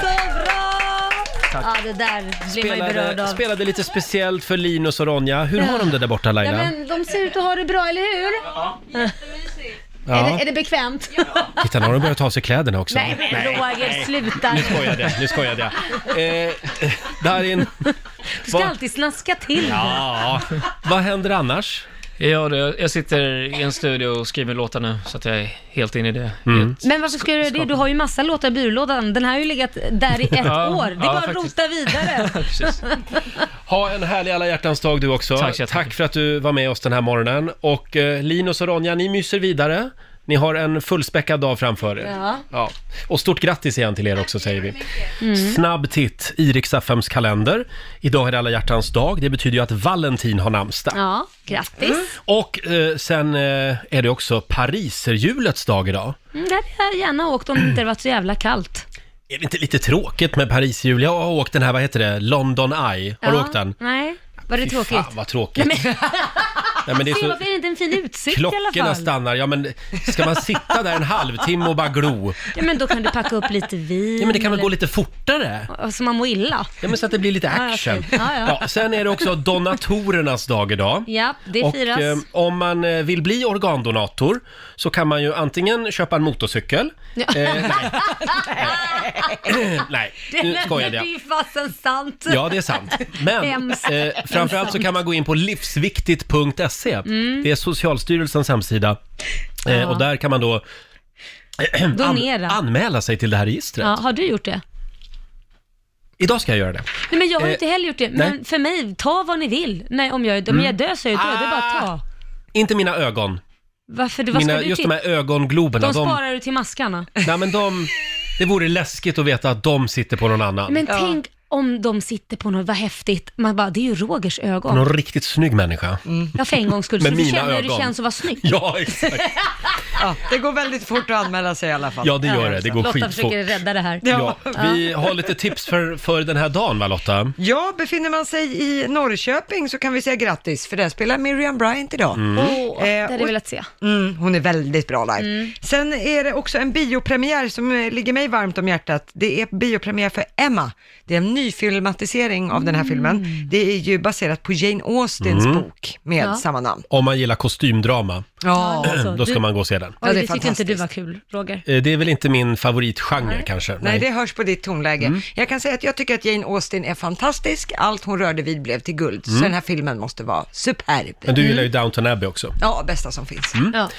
Speaker 2: Så bra!
Speaker 1: Tack.
Speaker 2: Ja, det där blev man ju berörd
Speaker 1: spelade,
Speaker 2: av.
Speaker 1: spelade lite speciellt för Linus och Ronja. Hur
Speaker 2: Ja.
Speaker 1: har de det där borta
Speaker 2: Ja,
Speaker 1: Laila?
Speaker 2: men de ser ut att ha det bra, eller hur?
Speaker 1: Ja.
Speaker 2: Är, det, är det bekvämt?
Speaker 1: Titta, nu har de börjat ta av sig kläderna också.
Speaker 2: Nej, men Roger, sluta
Speaker 1: Nu skojade jag, nu skojade jag. Eh, Darin,
Speaker 2: Du ska
Speaker 1: vad-
Speaker 2: alltid snaska till.
Speaker 1: Ja, vad händer annars?
Speaker 16: Ja, du, jag sitter i en studio och skriver låtar nu, så att jag är helt inne i det.
Speaker 1: Mm.
Speaker 2: Men varför ska du göra det? Du har ju massa låtar i byrålådan. Den här har ju legat där i ett
Speaker 16: Ja,
Speaker 2: år. Det är
Speaker 16: ja,
Speaker 2: bara att
Speaker 16: faktiskt.
Speaker 2: rota vidare.
Speaker 1: Ha en härlig alla hjärtans dag du också. Tack, för att du var med oss den här morgonen. Och eh, Linus och Ronja, ni myser vidare. Ni har en fullspäckad dag framför er.
Speaker 2: Ja.
Speaker 1: Och stort grattis igen till er också säger vi.
Speaker 2: Mm.
Speaker 1: Snabb titt i Rix FMs kalender. Idag är det alla hjärtans dag. Det betyder ju att Valentin har namnsdag.
Speaker 2: Ja, grattis. Mm.
Speaker 1: Och eh, sen eh, är det också pariserhjulets dag idag.
Speaker 2: Mm, där hade jag gärna åkt om det inte varit så jävla kallt.
Speaker 1: Är det inte lite tråkigt med pariserhjul? Jag har åkt den här, vad heter det, London Eye. Har du
Speaker 2: Ja,
Speaker 1: åkt den?
Speaker 2: Nej, var det
Speaker 1: Fy
Speaker 2: tråkigt?
Speaker 1: Fan vad tråkigt.
Speaker 2: Nej, men,
Speaker 1: Nej, men det är
Speaker 2: Se,
Speaker 1: så...
Speaker 2: varför är det inte en fin utsikt i alla
Speaker 1: Klockorna
Speaker 2: fall?
Speaker 1: stannar. Ja, men ska man sitta där en halvtimme och bara glo?
Speaker 2: Ja, men då kan du packa upp lite vin.
Speaker 1: Ja, men det kan väl
Speaker 2: eller-
Speaker 1: gå lite fortare?
Speaker 2: Så man mår illa.
Speaker 1: Ja, men så att det blir lite
Speaker 2: Ja, ja,
Speaker 1: action.
Speaker 2: okej. Ja, ja.
Speaker 1: Ja, sen är det också donatorernas dag idag.
Speaker 2: Ja, det
Speaker 1: och,
Speaker 2: firas.
Speaker 1: eh, om man eh, vill bli organdonator så kan man ju antingen köpa en motorcykel.
Speaker 2: Ja.
Speaker 1: Eh, nej, nej nu skojade
Speaker 2: Det är ju
Speaker 1: jag.
Speaker 2: fasen sant.
Speaker 1: Ja, det är sant. Men
Speaker 2: Hemskt.
Speaker 1: eh, framförallt så kan man gå in på livsviktigt.se.
Speaker 2: Mm.
Speaker 1: Det är Socialstyrelsens hemsida. Eh,
Speaker 2: Ja.
Speaker 1: och där kan man då eh,
Speaker 2: Donera.
Speaker 1: anmäla sig till det här registret.
Speaker 2: Ja, har du gjort det?
Speaker 1: Idag ska jag göra det.
Speaker 2: Nej, men jag har
Speaker 1: Eh,
Speaker 2: inte heller gjort det. Men
Speaker 1: nej.
Speaker 2: för mig, ta vad ni vill. Nej, om jag är död,
Speaker 1: Mm.
Speaker 2: men jag dör så är jag död. Det är bara att ta.
Speaker 1: Inte mina ögon.
Speaker 2: Varför? Vad ska
Speaker 1: Mina,
Speaker 2: du
Speaker 1: just
Speaker 2: till?
Speaker 1: de här ögongloberna.
Speaker 2: de sparar du till maskarna.
Speaker 1: Nej men de, det vore läskigt att veta att de sitter på någon annan.
Speaker 2: Men tänk om de sitter på något, vad häftigt. Man bara, det är ju Rogers ögon.
Speaker 1: Någon riktigt snygg människa.
Speaker 2: Ja, för en gångs skull.
Speaker 1: Med
Speaker 2: så du
Speaker 1: mina
Speaker 2: känner hur det
Speaker 1: ögon.
Speaker 2: känns att vara snygg.
Speaker 1: Ja, exakt.
Speaker 3: Ja, det går väldigt fort att anmäla sig i alla fall.
Speaker 1: Ja, det gör det. Det går
Speaker 2: Lotta
Speaker 1: skitfort.
Speaker 2: försöker rädda det här.
Speaker 1: Ja, vi har lite tips för, för den här dagen va Lotta?
Speaker 3: Ja, befinner man sig i Norrköping så kan vi säga grattis, för där spelar Miriam Bryant idag. Eh,
Speaker 1: Mm.
Speaker 2: Åh, det hade jag
Speaker 3: och-
Speaker 2: velat se.
Speaker 3: Mm, hon är väldigt bra live.
Speaker 2: Mm.
Speaker 3: Sen är det också en biopremiär som eh, ligger mig varmt om hjärtat. Det är biopremiär för Emma. Det är en nyfilmatisering av den
Speaker 2: Mm.
Speaker 3: här filmen. Det är ju baserat på Jane Austins
Speaker 1: Mm.
Speaker 3: bok med
Speaker 2: Ja.
Speaker 3: samma namn.
Speaker 1: Om man gillar kostymdrama,
Speaker 3: Ja, alltså,
Speaker 1: då ska
Speaker 3: du-
Speaker 1: man gå och se den.
Speaker 2: Oj,
Speaker 3: det är
Speaker 2: det tyckte inte du var kul, Roger.
Speaker 1: Eh, Det är väl inte min favoritgenre kanske.
Speaker 3: Nej, det hörs på ditt tonläge.
Speaker 1: Mm.
Speaker 3: Jag kan säga att jag tycker att Jane Austen är fantastisk. Allt hon rörde vid blev till guld.
Speaker 1: Mm.
Speaker 3: Så den här filmen måste vara superb. Mm.
Speaker 1: Men du gillar ju
Speaker 2: Mm.
Speaker 1: Downton Abbey också.
Speaker 3: Ja, bästa som finns.
Speaker 1: Mm.
Speaker 2: Ja.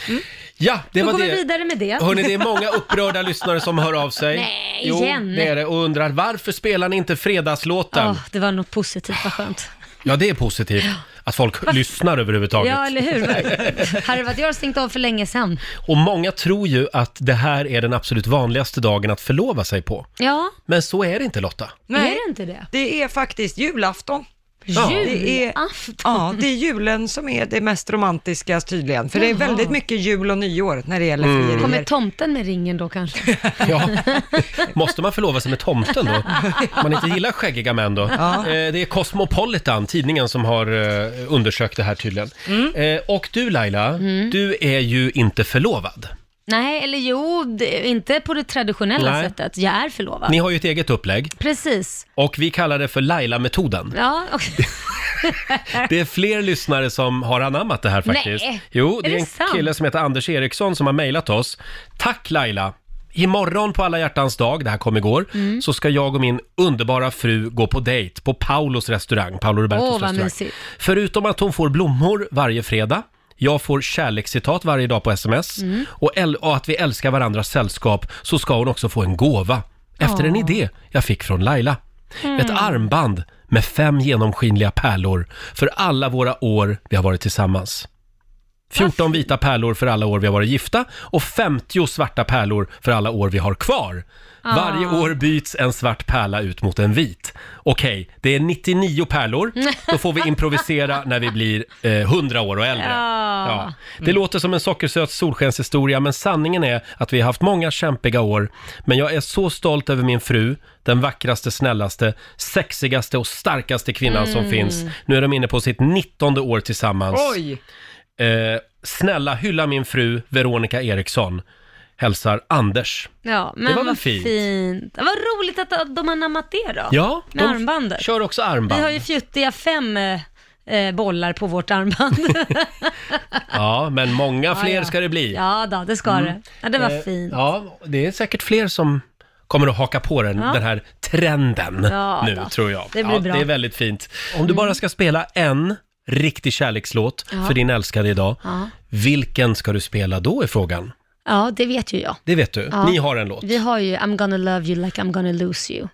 Speaker 1: Ja, det
Speaker 2: Då
Speaker 1: var
Speaker 2: går
Speaker 1: det.
Speaker 2: vi vidare med det.
Speaker 1: Hörni, det är många upprörda lyssnare som hör av sig.
Speaker 2: Nej,
Speaker 1: jo,
Speaker 2: igen. Ah.
Speaker 1: det är det. Och undrar varför spelar ni inte fredagslåten?
Speaker 2: Ja, det var något positivt, vad skönt.
Speaker 1: Ja, det är positivt att folk lyssnar överhuvudtaget.
Speaker 2: Ja, eller hur? Hade det varit jag hade stängt av för länge sedan.
Speaker 1: Och många tror ju att det här är den absolut vanligaste dagen att förlova sig på.
Speaker 2: Ja,
Speaker 1: Men så är det inte Lotta.
Speaker 3: Nej.
Speaker 2: är det inte det?
Speaker 3: Det är faktiskt julafton.
Speaker 2: Ja.
Speaker 3: Det är,
Speaker 2: Julafton?
Speaker 3: ja, det är julen som är det mest romantiska tydligen. För det är
Speaker 2: Jaha.
Speaker 3: väldigt mycket jul och nyår när det gäller
Speaker 1: Mm.
Speaker 3: frierier.
Speaker 2: Kommer tomten med ringen då kanske?
Speaker 1: Måste man förlova sig med tomten då? Om man inte gillar skäggiga män då?
Speaker 2: Ja.
Speaker 1: Eh, Det är Cosmopolitan, tidningen, som har eh, undersökt det här tydligen. Eh, Och du Laila, du är ju inte förlovad.
Speaker 2: Nej, eller jo, det, inte på det traditionella
Speaker 1: Nej.
Speaker 2: sättet. Jag är förlovad.
Speaker 1: Ni har ju ett eget upplägg
Speaker 2: Precis.
Speaker 1: och vi kallar det för Laila-metoden.
Speaker 2: Ja, och...
Speaker 1: Det är fler lyssnare som har anammat det här faktiskt.
Speaker 2: Nej,
Speaker 1: Jo, det
Speaker 2: är
Speaker 1: är,
Speaker 2: det
Speaker 1: en
Speaker 2: sant?
Speaker 1: kille som heter Anders Eriksson som har mejlat oss. Tack Laila! imorgon på alla hjärtans dag, det här kom igår,
Speaker 2: Mm.
Speaker 1: så ska jag och min underbara fru gå på dejt på Paulos restaurang, Paolo Robertos
Speaker 2: Åh, vad
Speaker 1: restaurang.
Speaker 2: mysigt.
Speaker 1: Förutom att hon får blommor varje fredag, jag får kärlekscitat varje dag på sms
Speaker 2: Mm.
Speaker 1: och, äl- och att vi älskar varandras sällskap så ska hon också få en gåva efter en
Speaker 2: Åh.
Speaker 1: idé jag fick från Laila.
Speaker 2: Mm.
Speaker 1: Ett armband med fem genomskinliga pärlor för alla våra år vi har varit tillsammans. 14 vita pärlor för alla år vi har varit gifta och 50 svarta pärlor för alla år vi har kvar.
Speaker 2: Ah.
Speaker 1: Varje år byts en svart pärla ut mot en vit. Okej, det är 99 pärlor. Då får vi improvisera när vi blir eh, 100 år och äldre.
Speaker 2: Ja.
Speaker 1: Det
Speaker 2: Mm.
Speaker 1: låter som en sockersöt solskenshistoria, men sanningen är att vi har haft många kämpiga år. Men jag är så stolt över min fru, den vackraste, snällaste, sexigaste och starkaste kvinnan som
Speaker 2: Mm.
Speaker 1: finns. Nu är de inne på sitt 19 år tillsammans.
Speaker 3: Oj!
Speaker 1: Eh, snälla hylla min fru Veronica Eriksson. Hälsar Anders.
Speaker 2: Ja, men
Speaker 1: Det var väl
Speaker 2: vad
Speaker 1: fint?
Speaker 2: fint. Vad roligt att de har anammat det då.
Speaker 1: Ja,
Speaker 2: Med
Speaker 1: de
Speaker 2: armbandet.
Speaker 1: kör också
Speaker 2: Vi
Speaker 1: armband.
Speaker 2: har ju fjuttiga fem eh, eh, bollar på vårt armband.
Speaker 1: Ja, men många fler
Speaker 2: Ja, ja.
Speaker 1: ska det bli.
Speaker 2: Ja, då, det ska det. Ja, det var
Speaker 1: Eh,
Speaker 2: fint.
Speaker 1: Ja, det är säkert fler som kommer att haka på den,
Speaker 2: Ja.
Speaker 1: den här trenden
Speaker 2: Ja,
Speaker 1: nu,
Speaker 2: då.
Speaker 1: tror jag.
Speaker 2: Det blir
Speaker 1: ja,
Speaker 2: bra. Mm.
Speaker 1: det är väldigt fint. Om du bara ska spela en riktig kärlekslåt
Speaker 2: Ja.
Speaker 1: för din älskade idag,
Speaker 2: Ja.
Speaker 1: vilken ska du spela då, är frågan.
Speaker 2: ja, det vet ju jag.
Speaker 1: Det vet du.
Speaker 2: Ja.
Speaker 1: Ni har en låt.
Speaker 2: Vi har ju I'm gonna love you like I'm gonna lose you.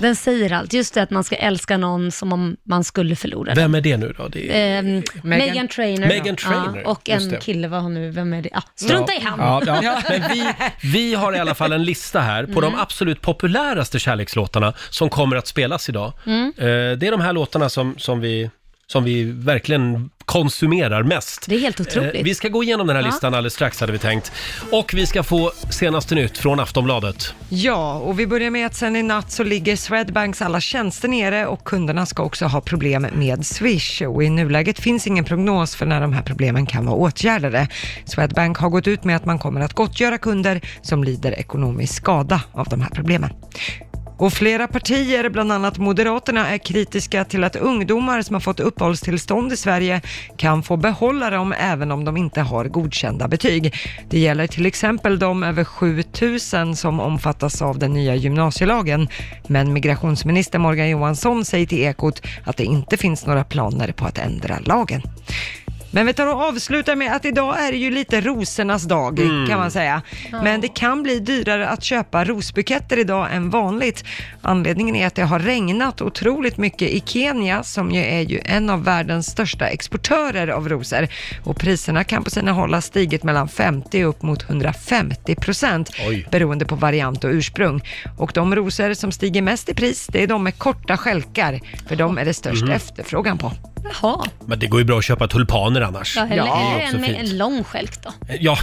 Speaker 2: Den säger allt. Just det att man ska älska någon som om man skulle förlora den.
Speaker 1: Vem är det nu då? Det är...
Speaker 2: Ehm,
Speaker 1: Meghan-
Speaker 2: Meghan Trainor.
Speaker 1: Meghan Trainor,
Speaker 2: Ja, och
Speaker 1: just
Speaker 2: en
Speaker 1: det.
Speaker 2: kille, vad har nu, vem är det? Ja, strunta i han.
Speaker 1: Ja, ja, ja. Men vi, vi har i alla fall en lista här på de
Speaker 2: Mm.
Speaker 1: absolut populäraste kärlekslåtarna som kommer att spelas idag.
Speaker 2: Mm.
Speaker 1: Eh, Det är de här låtarna som, som, vi, som vi verkligen konsumerar mest.
Speaker 2: Det är helt otroligt.
Speaker 1: Eh, Vi ska gå igenom den här
Speaker 2: Ja.
Speaker 1: listan alldeles strax hade vi tänkt. Och vi ska få senaste nytt från Aftonbladet.
Speaker 3: Ja, och vi börjar med att sen i natt så ligger Swedbanks alla tjänster nere och kunderna ska också ha problem med Swish. Och i nuläget finns ingen prognos för när de här problemen kan vara åtgärdade. Swedbank har gått ut med att man kommer att gottgöra kunder som lider ekonomisk skada av de här problemen. Och flera partier, bland annat Moderaterna, är kritiska till att ungdomar som har fått uppehållstillstånd i Sverige kan få behålla dem även om de inte har godkända betyg. Det gäller till exempel de över 7000 som omfattas av den nya gymnasielagen. Men migrationsminister Morgan Johansson säger till Ekot att det inte finns några planer på att ändra lagen. Men vi tar och avslutar med att idag är det ju lite rosernas dag
Speaker 5: Mm.
Speaker 3: kan man säga. Men det kan bli dyrare att köpa rosbuketter idag än vanligt. Anledningen är att det har regnat otroligt mycket i Kenya som ju är ju en av världens största exportörer av rosor. Och priserna kan på sina håll ha stigit mellan 50 och upp mot 150 procent beroende på variant och ursprung. Och de rosor som stiger mest i pris det är de med korta stjälkar för de är det störst
Speaker 1: Mhm.
Speaker 3: efterfrågan på.
Speaker 2: Jaha.
Speaker 1: Men det går ju bra att köpa tulpaner annars.
Speaker 2: Ja, eller
Speaker 1: det
Speaker 2: är
Speaker 1: är
Speaker 2: det
Speaker 1: ju också
Speaker 2: en,
Speaker 1: fint.
Speaker 2: en lång stjälk då?
Speaker 1: Ja,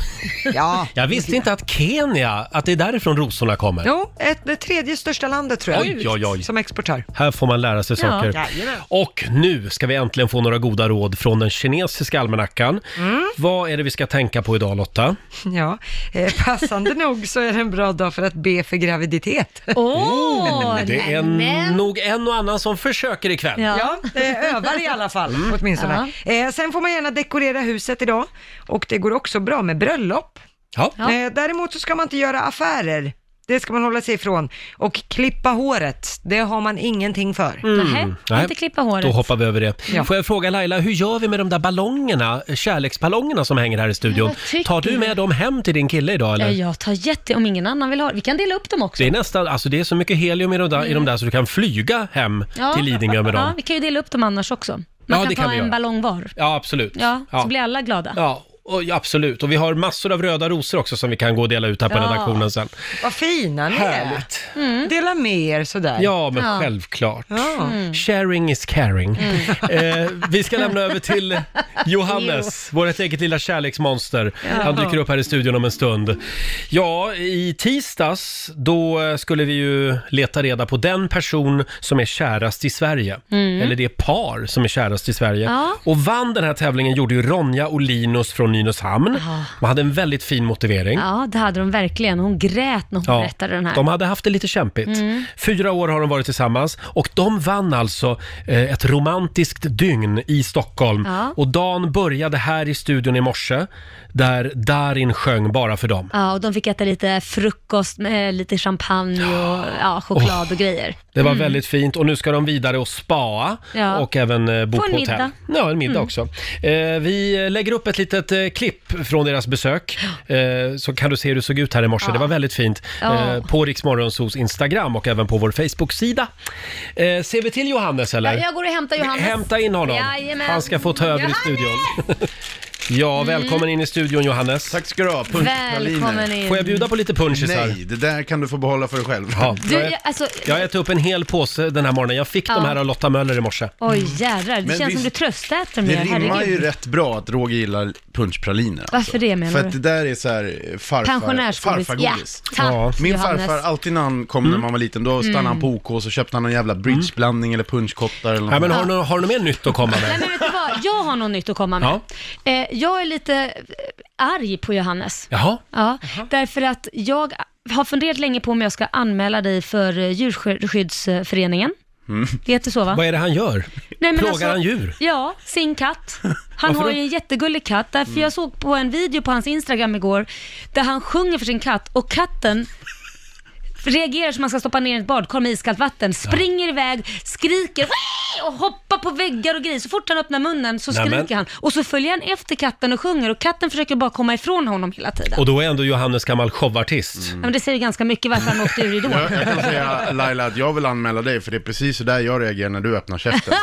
Speaker 3: Ja.
Speaker 1: jag visste inte att Kenya, att det är därifrån rosorna kommer.
Speaker 3: Jo, ett, det tredje största landet tror jag.
Speaker 1: Oj, oj, oj.
Speaker 3: Som exportör.
Speaker 1: Här får man lära sig
Speaker 3: Ja.
Speaker 1: saker.
Speaker 3: Jajamän.
Speaker 1: Och nu ska vi äntligen få några goda råd från den kinesiska almanackan.
Speaker 3: Mm.
Speaker 1: Vad är det vi ska tänka på idag Lotta?
Speaker 3: Ja, eh, passande nog så är det en bra dag för att be för graviditet.
Speaker 2: Åh,
Speaker 1: Mm, det är nog en och annan som försöker ikväll. Mm.
Speaker 3: Ja, eh, övar i alla fall åtminstone. Eh, sen får man gärna dekorera huset idag och det går också bra med bröllop.
Speaker 1: Ja.
Speaker 3: Eh, däremot så ska man inte göra affärer. Det ska man hålla sig ifrån. Och klippa håret, det har man ingenting för.
Speaker 1: Mm. Nej, Då hoppar vi över det.
Speaker 3: Ja.
Speaker 1: Får jag fråga Laila, hur gör vi med de där ballongerna, kärleksballongerna som hänger här i studion?
Speaker 2: Jag tycker-
Speaker 1: Tar du med dem hem till din kille idag eller?
Speaker 2: Ja, Eh, jag tar jätte, om ingen annan vill ha det. Vi kan dela upp dem också.
Speaker 1: Det är nästan, alltså det är så mycket helium i de där, i de där så du kan flyga hem
Speaker 2: Ja.
Speaker 1: till Lidingö med
Speaker 2: Ja,
Speaker 1: dem.
Speaker 2: vi kan ju dela upp dem annars också. Man
Speaker 1: Ja,
Speaker 2: kan
Speaker 1: det
Speaker 2: ta
Speaker 1: kan vi
Speaker 2: en
Speaker 1: göra.
Speaker 2: ballong var.
Speaker 1: Ja, absolut.
Speaker 2: Ja, så blir alla glada.
Speaker 1: Ja, och, ja, absolut. Och vi har massor av röda rosor också som vi kan gå och dela ut här på
Speaker 3: Ja.
Speaker 1: redaktionen sen.
Speaker 3: Vad fina ni
Speaker 1: Härligt.
Speaker 3: är. Dela med er sådär.
Speaker 1: Ja, men självklart.
Speaker 3: Ja. Mm.
Speaker 1: Sharing is caring.
Speaker 2: Mm.
Speaker 1: Eh, vi ska lämna över till Johannes, vårt eget lilla kärleksmonster.
Speaker 5: Ja.
Speaker 1: Han dyker upp här i studion om en stund. Ja, i tisdags då eh, skulle vi ju leta reda på den person som är kärast i Sverige.
Speaker 5: Mm.
Speaker 1: Eller det par som är kärast i Sverige.
Speaker 5: Ja.
Speaker 1: Och vann den här tävlingen gjorde ju Ronja och Linus från från Nynäshamn.
Speaker 2: Ja.
Speaker 1: De hade en väldigt fin motivering.
Speaker 2: Ja, det hade de verkligen. Hon grät när hon
Speaker 1: Ja,
Speaker 2: berättade den här.
Speaker 1: De hade haft det lite kämpigt.
Speaker 2: Mm.
Speaker 1: Fyra år har de varit tillsammans och de vann alltså eh, ett romantiskt dygn i Stockholm.
Speaker 2: Ja.
Speaker 1: Och dagen började här i studion i morse där Darin sjöng bara för dem.
Speaker 2: Ja, och de fick äta lite frukost med lite champagne och ja, choklad och grejer.
Speaker 1: Det var
Speaker 2: Mm.
Speaker 1: väldigt fint och nu ska de vidare och spa
Speaker 2: Ja.
Speaker 1: och även eh, bo
Speaker 2: På
Speaker 1: på,
Speaker 2: en
Speaker 1: hotell.
Speaker 2: middag.
Speaker 1: Ja, en middag
Speaker 2: Mm.
Speaker 1: också. Eh, vi lägger upp ett litet eh, klipp från deras besök eh, så kan du se hur det såg ut här i morse.
Speaker 2: Ja.
Speaker 1: Det var väldigt fint.
Speaker 2: Ja.
Speaker 1: Eh, på Riksmorgonsos Instagram och även på vår Facebook-sida. Eh, ser vi till Johannes eller?
Speaker 2: Ja, jag går och hämtar Johannes.
Speaker 1: Hämta in honom.
Speaker 2: Jajamän.
Speaker 1: Han ska få ta över i studion. ja, välkommen in i studion Johannes. Tack
Speaker 18: ska du ha.
Speaker 2: Punschpraliner. Välkommen in.
Speaker 1: Får jag bjuda på lite punchisar?
Speaker 18: Nej, det där kan du få behålla för dig själv.
Speaker 1: Ja,
Speaker 2: Du,
Speaker 1: jag-
Speaker 2: jag, alltså,
Speaker 1: jag har ätit upp en hel påse den här morgonen. Jag fick
Speaker 2: Ja.
Speaker 1: de här av Lotta Möller i morse.
Speaker 2: oj jädrar, det
Speaker 18: Men
Speaker 2: känns som
Speaker 18: visst-
Speaker 2: du tröstäter mer,
Speaker 18: Det rimmar ju
Speaker 2: herregud.
Speaker 18: rätt bra att Roger gillar punschpraliner. Alltså.
Speaker 2: Varför det menar
Speaker 18: För
Speaker 2: du?
Speaker 18: att det där är så här eh, farfar,
Speaker 2: Pensionärsgodis.
Speaker 18: farfargodis.
Speaker 2: Ja, tack, Ja.
Speaker 18: Min
Speaker 2: Johannes. Mm.
Speaker 18: farfar, alltid när han kom
Speaker 1: Mm.
Speaker 18: när man var liten, då stannade han på OK och så köpte han en jävla bridgeblandning eller punschkottar eller något.
Speaker 1: Ja, men har du något- har du mer nytt att komma
Speaker 2: Nej, men vet du vad? Jag har något nytt att komma med. Eh, jag är lite eh, arg på Johannes.
Speaker 1: Jaha?
Speaker 2: Ja, därför att jag har funderat länge på om jag ska anmäla dig för eh, Djurskyddsföreningen.
Speaker 18: Mm.
Speaker 2: Det heter så va?
Speaker 1: Vad är det han gör?
Speaker 2: Nej, men
Speaker 1: Plågar
Speaker 2: alltså-
Speaker 1: han djur?
Speaker 2: Ja, sin katt. Han
Speaker 1: Varför
Speaker 2: har
Speaker 1: då?
Speaker 2: ju en jättegullig katt. Därför
Speaker 1: Mm.
Speaker 2: jag såg på en video på hans Instagram igår där han sjunger för sin katt och katten reagerar som man ska stoppa ner i ett badkar med iskallt vatten, springer iväg, skriker "Wii!" och hoppar på väggar och grejer. Så fort han öppnar munnen så
Speaker 1: Nämen.
Speaker 2: skriker han och så följer han efter katten och sjunger och katten försöker bara komma ifrån honom hela tiden.
Speaker 1: Och då är ändå Johannes gammal showartist.
Speaker 2: Ja, men det säger ju ganska mycket varför han åkte ur Idol.
Speaker 18: Jag, jag kan säga Laila att jag vill anmäla dig för det är precis så där jag reagerar när du öppnar käften.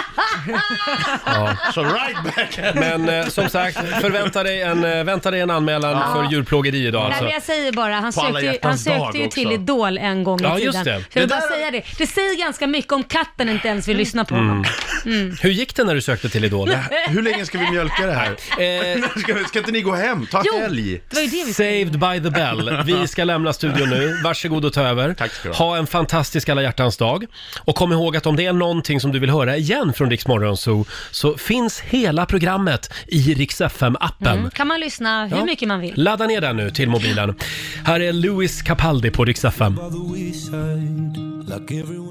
Speaker 18: Så right back!
Speaker 1: Men eh, som sagt, förvänta dig en, eh, vänta dig en anmälan
Speaker 2: Ja.
Speaker 1: för djurplågeri idag
Speaker 2: Nej,
Speaker 1: alltså.
Speaker 2: men jag säger bara, han
Speaker 1: På alla
Speaker 2: sökte, ju- han
Speaker 1: hjärtans dag
Speaker 2: sökte ju till
Speaker 1: också.
Speaker 2: Idol en gång i
Speaker 1: Ja,
Speaker 2: tiden.
Speaker 1: just det.
Speaker 2: Så jag vill
Speaker 1: Det
Speaker 2: bara säga det. Det säger ganska mycket om katten inte ens vill lyssna på honom.
Speaker 1: Mm.
Speaker 2: Mm.
Speaker 1: Hur gick det när du sökte till Idol? Eh,
Speaker 2: Det här- hur
Speaker 18: länge ska vi mjölka det här? ska, ska inte ni gå hem? Ta
Speaker 2: Jo,
Speaker 18: helg!
Speaker 2: det var ju det vi skulle
Speaker 1: Saved by the bell. Vi ska lämna studion nu. Varsågod och ta över. Ha en fantastisk alla hjärtans dag. Och kom ihåg att om det är någonting som du vill höra igen från Rix Morgon Zoo så finns hela programmet i Rix FM-appen.
Speaker 2: Mm. Kan man lyssna hur
Speaker 1: Ja.
Speaker 2: mycket man vill.
Speaker 1: Ladda ner den nu till mobilen. Här är Louis Capaldi på Rix FM.